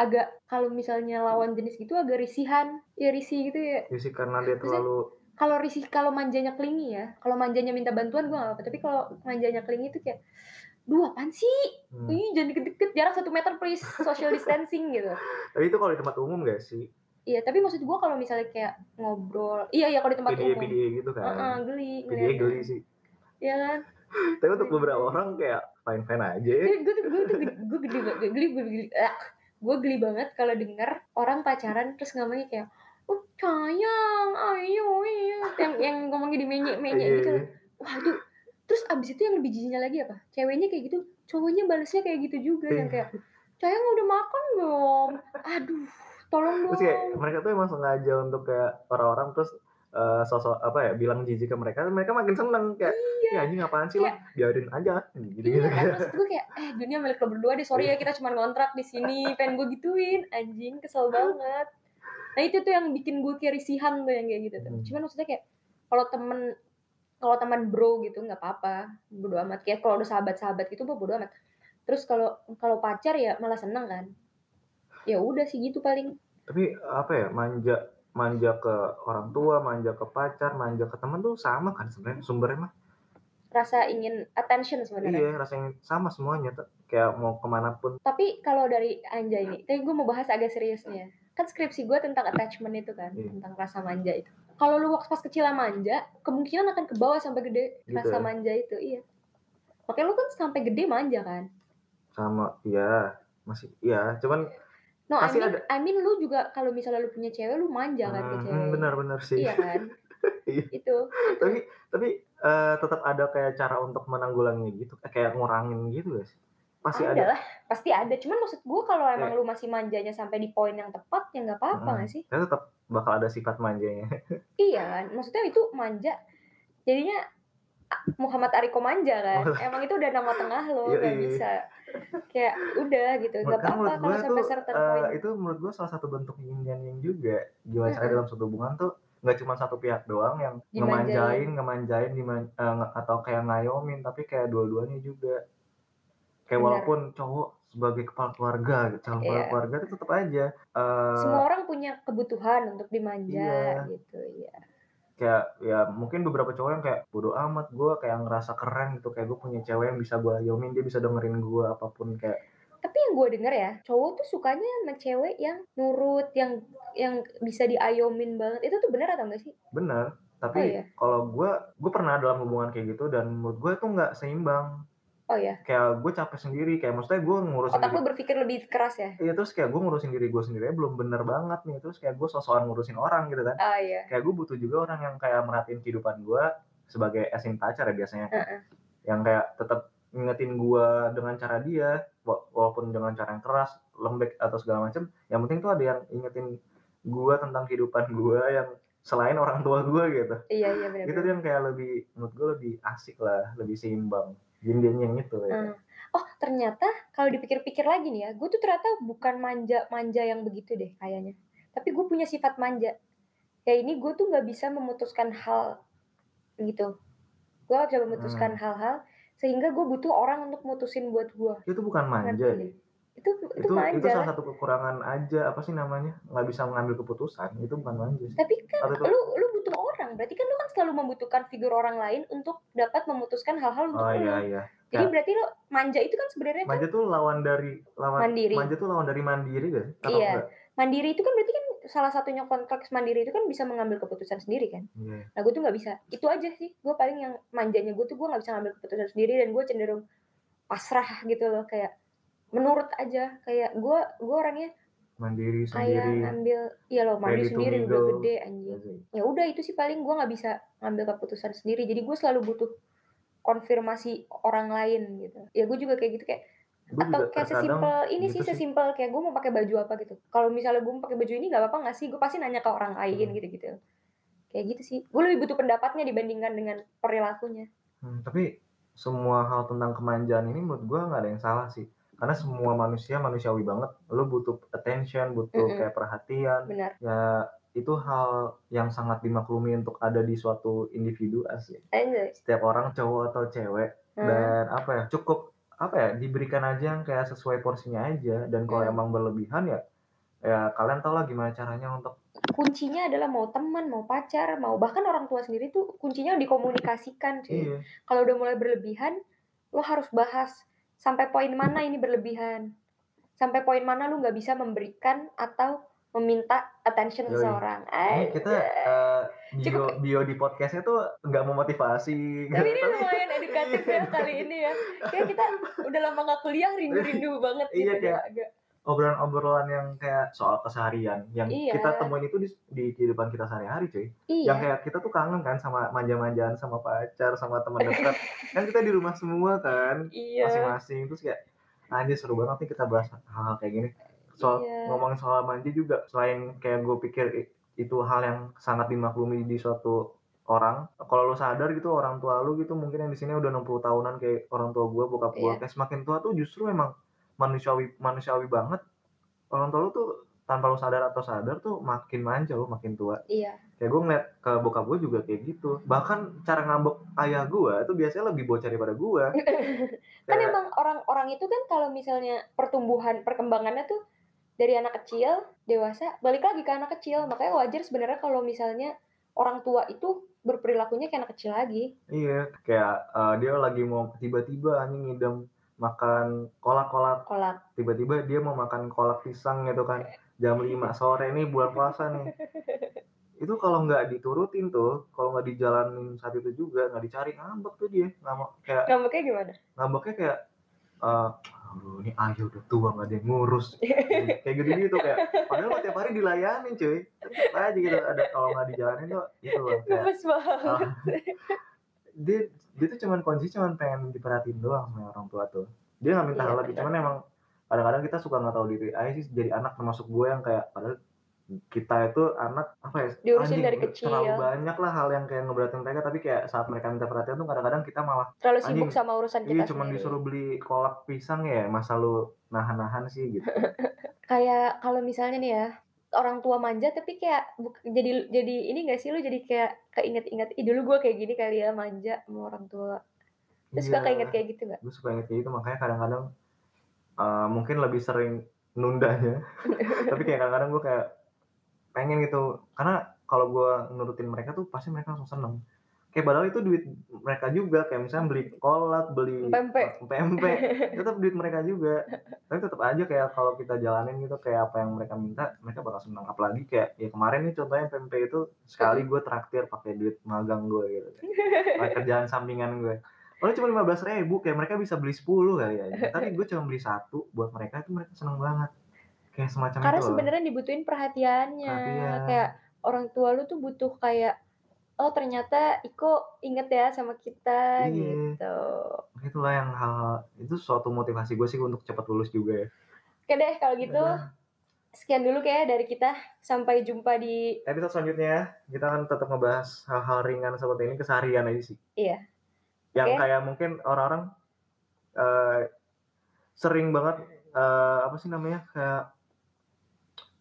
B: agak kalau misalnya lawan jenis gitu agak risihan ya risih gitu ya
A: ya sih karena dia terlalu
B: kalau risih kalau manjanya klingi ya kalau manjanya minta bantuan gue gak apa-apa tapi kalau manjanya klingi itu kayak duh apaan sih
A: Hmm.
B: Ih, jangan deket-deket jarak satu meter please social distancing gitu
A: tapi itu kalau di tempat umum gak sih
B: iya tapi maksud gue kalau misalnya kayak ngobrol iya iya kalau di tempat
A: pda
B: umum
A: pda gitu
B: Heeh,
A: kan
B: geli
A: pda
B: ngeliatnya.
A: geli sih
B: Iya kan
A: tapi untuk beberapa orang kayak fine fine aja ya.
B: gue tuh gue tuh gue geli banget gue geli gue geli ah, gue geli banget kalau denger orang pacaran terus ngomongnya kayak oh sayang ayo ayo yang yang ngomongnya di menye menye
A: Iya,
B: gitu
A: iya.
B: wah itu terus abis itu yang lebih jijiknya lagi apa ceweknya kayak gitu cowoknya balesnya kayak gitu juga
A: Iya.
B: yang kayak sayang udah makan belum aduh tolong dong
A: terus kayak mereka tuh emang sengaja untuk kayak orang-orang terus eh, sosok apa ya bilang jijik ke mereka mereka makin seneng kayak ya anjing apaan sih lo biarin aja gitu gitu
B: Iya kan maksud gue kayak eh dunia milik lo berdua deh sorry ya kita cuma ngontrak di sini pengen gue gituin anjing kesel banget nah itu tuh yang bikin gue kayak risihan tuh yang kayak gitu tuh
A: Hmm.
B: cuman maksudnya kayak kalau temen kalau teman bro gitu nggak apa-apa bodo amat kayak kalau udah sahabat-sahabat gitu mah bodo amat terus kalau kalau pacar ya malah seneng kan ya udah sih gitu paling
A: tapi apa ya manja manja ke orang tua manja ke pacar manja ke teman tuh sama kan sebenarnya sumbernya mah
B: rasa ingin attention sebenarnya
A: iya rasanya sama semuanya tuh. kayak mau kemana pun
B: tapi kalau dari Anja ini tapi gue mau bahas agak seriusnya kan skripsi gue tentang attachment itu kan
A: Iya.
B: tentang rasa manja itu kalau lu waktu pas kecil sama manja kemungkinan akan ke bawah sampai gede
A: Gitu
B: rasa
A: ya?
B: manja itu iya makanya lu kan sampai gede manja kan
A: sama iya masih iya cuman
B: no I
A: Pasti
B: mean, I mean lu juga kalau misalnya lu punya cewek lu manja kan ke
A: hmm,
B: cewek
A: benar-benar sih
B: iya kan
A: Iya.
B: itu
A: tapi tapi eh, tetap ada kayak cara untuk menanggulangi gitu Eh, kayak ngurangin gitu guys pasti
B: ada,
A: ada, Iya.
B: lah pasti ada cuman maksud gue kalau emang lu masih manjanya sampai di poin yang tepat ya nggak apa-apa
A: Mm-mm.
B: nggak sih
A: saya tetap bakal ada sifat manjanya
B: Iya kan, maksudnya itu manja. Jadinya ah, Muhammad Ariko manja kan. Emang itu udah nama tengah
A: Oh.
B: lo,
A: Yoi.
B: gak bisa. Kayak udah gitu, gak
A: Karena gua
B: apa-apa kalau sampai certain
A: eh,
B: point.
A: itu menurut gue salah satu bentuk yin dan yang juga gimana cara
B: Mm-mm.
A: dalam suatu hubungan tuh nggak cuma satu pihak doang yang
B: Dimanjain.
A: ngemanjain ngemanjain diman- eh, nge- atau kayak ngayomin tapi kayak dua-duanya juga kayak
B: Benar.
A: walaupun cowok sebagai kepala keluarga gitu calon kepala
B: Iya.
A: keluarga itu tetap aja eh,
B: Semua orang punya kebutuhan untuk dimanja
A: Iya.
B: gitu, iya.
A: kayak ya mungkin beberapa cowok yang kayak bodoh amat gue kayak ngerasa keren gitu kayak gue punya cewek yang bisa gue ayomin dia bisa dengerin gue apapun kayak
B: Tapi yang gue denger ya, cowok tuh sukanya sama cewek yang nurut, yang yang bisa diayomin banget. Itu tuh benar atau enggak sih?
A: bener tapi
B: Oh, iya.
A: kalau gue gue pernah dalam hubungan kayak gitu dan menurut gue tuh nggak seimbang
B: Oh ya,
A: kayak gue capek sendiri kayak maksudnya gue ngurusin
B: otak
A: diri
B: lu berpikir lebih keras ya?
A: Iya terus kayak gue ngurusin diri gue sendiri aja belum bener banget nih terus kayak gue sosokan ngurusin orang gitu kan
B: Oh iya.
A: kayak gue butuh juga orang yang kayak merhatiin kehidupan gue sebagai asin pacar ya biasanya yang kayak tetap ngingetin gue dengan cara dia wa- walaupun dengan cara yang keras lembek atau segala macem yang penting tuh ada yang ingetin gue tentang kehidupan gue yang selain orang tua gue gitu
B: Iya, iya benar.
A: itu tuh yang kayak lebih menurut gue lebih asik lah lebih seimbang yin dan yang itu ya
B: Hmm. oh ternyata kalau dipikir-pikir lagi nih ya gue tuh ternyata bukan manja-manja yang begitu deh kayaknya tapi gue punya sifat manja ya ini gue tuh nggak bisa memutuskan hal gitu gue nggak
A: Hmm.
B: bisa memutuskan hal-hal sehingga gue butuh orang untuk mutusin buat gue
A: itu bukan
B: Ngerti
A: manja
B: nggak?
A: ya.
B: itu itu
A: itu itu
B: manja
A: salah
B: lah.
A: satu kekurangan aja apa sih namanya nggak bisa mengambil keputusan itu bukan manja sih
B: tapi kan
A: atau itu
B: lu lu butuh orang berarti kan lu kan selalu membutuhkan figur orang lain untuk dapat memutuskan hal-hal untuk
A: oh
B: lu.
A: iya iya
B: jadi
A: ya.
B: berarti lo manja itu kan sebenarnya kan
A: manja tuh lawan dari lawan
B: mandiri
A: manja tuh lawan dari mandiri gak sih atau
B: Iya.
A: enggak
B: mandiri itu kan berarti kan salah satunya kontrak mandiri itu kan bisa mengambil keputusan sendiri kan
A: Iya.
B: nah gue tuh nggak bisa itu aja sih gue paling yang manjanya gue tuh gue nggak bisa ngambil keputusan sendiri dan gue cenderung pasrah gitu loh kayak menurut aja kayak gue gue orangnya
A: mandiri
B: kayak
A: sendiri Iya
B: ngambil iya loh mandi
A: Ready to
B: sendiri udah
A: mingle.
B: gede anjing ya udah itu sih paling gue nggak bisa ngambil keputusan sendiri jadi gue selalu butuh konfirmasi orang lain gitu ya gue juga kayak gitu kayak
A: gue
B: atau
A: juga
B: kayak
A: terkadang
B: sesimpel ini sih
A: gitu sih.
B: sesimpel kayak gue mau pakai baju apa gitu kalau misalnya gue mau pakai baju ini nggak apa-apa nggak sih gue pasti nanya ke orang lain
A: Hmm.
B: gitu gitu kayak gitu sih gue lebih butuh pendapatnya dibandingkan dengan perilakunya
A: Hmm, tapi semua hal tentang kemanjaan ini menurut gue nggak ada yang salah sih karena semua manusia manusiawi banget lo butuh attention butuh
B: Mm-mm.
A: kayak perhatian
B: benar
A: ya itu hal yang sangat dimaklumi untuk ada di suatu individu asli
B: Anjay.
A: setiap orang cowok atau cewek
B: gitu. Nah,
A: dan apa ya cukup apa ya diberikan aja yang kayak sesuai porsinya aja dan kalau
B: Hmm.
A: emang berlebihan ya ya kalian tau lah gimana caranya untuk
B: kuncinya adalah mau teman mau pacar mau bahkan orang tua sendiri tuh kuncinya dikomunikasikan sih
A: iya
B: kalau udah mulai berlebihan lo harus bahas sampai poin mana ini berlebihan sampai poin mana lu nggak bisa memberikan atau meminta attention
A: Yoi.
B: seseorang.
A: Ini kita
B: Anjay.
A: eh, bio,
B: Cukup.
A: bio di podcastnya tuh nggak memotivasi.
B: Tapi ini lumayan edukatif ya kali ini ya. Kayak kita udah lama gak kuliah rindu-rindu banget
A: Iya,
B: gitu.
A: kayak-
B: agak.
A: Obrolan-obrolan yang kayak soal keseharian yang
B: Iya.
A: kita temuin itu di, di kehidupan kita sehari-hari, cuy.
B: Iya.
A: Yang kayak kita tuh kangen kan sama manja-manjaan sama pacar, sama teman dekat. kan kita di rumah semua kan,
B: Iya.
A: masing-masing terus kayak anjir seru banget nih kita bahas hal-hal kayak gini. Soal
B: Iya.
A: ngomongin soal manja juga selain kayak gue pikir i- itu hal yang sangat dimaklumi di suatu orang kalau lu sadar gitu orang tua lu gitu mungkin yang di sini udah 60 tahunan kayak orang tua gue bokap gue
B: Iya.
A: kayak semakin tua tuh justru emang manusiawi manusiawi banget orang tua lu tuh tanpa lu sadar atau sadar tuh makin manja lu makin tua
B: Iya.
A: kayak gue ngeliat ke bokap gue juga kayak gitu bahkan cara ngambek ayah gue itu biasanya lebih bocah daripada gue
B: kan emang orang-orang itu kan kalau misalnya pertumbuhan perkembangannya tuh dari anak kecil dewasa balik lagi ke anak kecil makanya wajar sebenarnya kalau misalnya orang tua itu berperilakunya kayak anak kecil lagi
A: Iya, kayak eh, dia lagi mau tiba-tiba anjing ngidam makan kolak-kolak,
B: kolak
A: tiba-tiba dia mau makan kolak pisang gitu kan. Jam 5 sore nih bulan puasa nih. Itu kalau nggak diturutin tuh, kalau nggak dijalanin saat itu juga, nggak dicari ngambek tuh dia. Ngambek kayak
B: ngambeknya gimana
A: ngambeknya kayak eh aduh ini ayah udah tua nggak ada yang ngurus kayak gitu gitu kayak padahal mah tiap hari dilayanin cuy Tetep aja gitu ada kalau nggak dijalanin tuh itu loh kayak
B: gemes banget
A: Ah. dia dia tuh cuman kondisi cuman pengen diperhatiin doang sama orang tua tuh dia nggak minta
B: Iya,
A: hal lebih
B: benar.
A: cuman emang kadang-kadang kita suka nggak tahu diri aja sih jadi anak termasuk gue yang kayak padahal kita itu anak apa ya
B: Diurusin dari
A: udah terlalu
B: kecil.
A: banyak lah hal yang kayak ngeberatin mereka tapi kayak saat mereka minta perhatian tuh kadang-kadang kita malah
B: terlalu
A: anjing.
B: sibuk sama urusan kita
A: iya cuman
B: sendiri.
A: disuruh beli kolak pisang ya masa lu nahan-nahan sih gitu
B: kayak kalau misalnya nih ya orang tua manja tapi kayak buk- jadi jadi ini gak sih lu jadi kayak keinget-inget ih dulu gue kayak gini kali ya manja sama orang tua terus
A: Iya.
B: suka keinget kayak gitu gak?
A: gue suka inget kayak gitu makanya kadang-kadang eh, mungkin lebih sering nundanya tapi kayak kadang-kadang gue kayak pengen gitu karena kalau gue nurutin mereka tuh pasti mereka langsung seneng kayak padahal itu duit mereka juga kayak misalnya beli kolak beli
B: Pempek.
A: pempek tetap duit mereka juga tapi tetap aja kayak kalau kita jalanin gitu kayak apa yang mereka minta mereka bakal seneng apalagi kayak ya kemarin nih contohnya pempek itu sekali gue traktir pakai duit magang gue gitu Pakai kerjaan sampingan gue Padahal cuma lima belas ribu, kayak mereka bisa beli 10 kali ya. Tapi gue cuma beli satu buat mereka itu mereka seneng banget. Kayak semacam itu.
B: Karena
A: gitu loh.
B: sebenarnya dibutuhin perhatiannya.
A: Perhatian.
B: Kayak orang tua lu tuh butuh kayak oh ternyata Iko inget ya sama
A: Iya.
B: kita gitu.
A: itulah yang hal itu suatu motivasi gue sih untuk cepat lulus juga ya.
B: Oke deh kalau gitu
A: Udah.
B: sekian dulu kayak dari kita sampai jumpa di
A: Episode selanjutnya kita akan tetap ngebahas hal-hal ringan seperti ini keseharian aja sih.
B: Iya.
A: Yang
B: Oke.
A: kayak mungkin orang-orang eh, sering banget eh, apa sih namanya kayak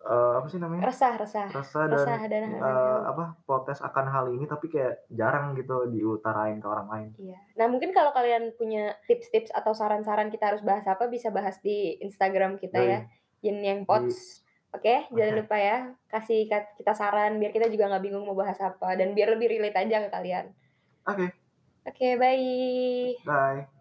A: eh, apa sih namanya
B: resah-resah.
A: rasa dan
B: Resah dan
A: Iya eh, apa protes akan hal ini tapi kayak jarang gitu diutarain ke orang lain.
B: Iya. Nah mungkin kalau kalian punya tips-tips atau saran-saran kita harus bahas apa bisa bahas di Instagram kita ya. Yin Yang Pots. Oke, jangan
A: Oke.
B: lupa ya kasih ka- kita saran biar kita juga nggak bingung mau bahas apa dan biar lebih relate aja ke kalian.
A: Oke,
B: Oke, bye.
A: bye.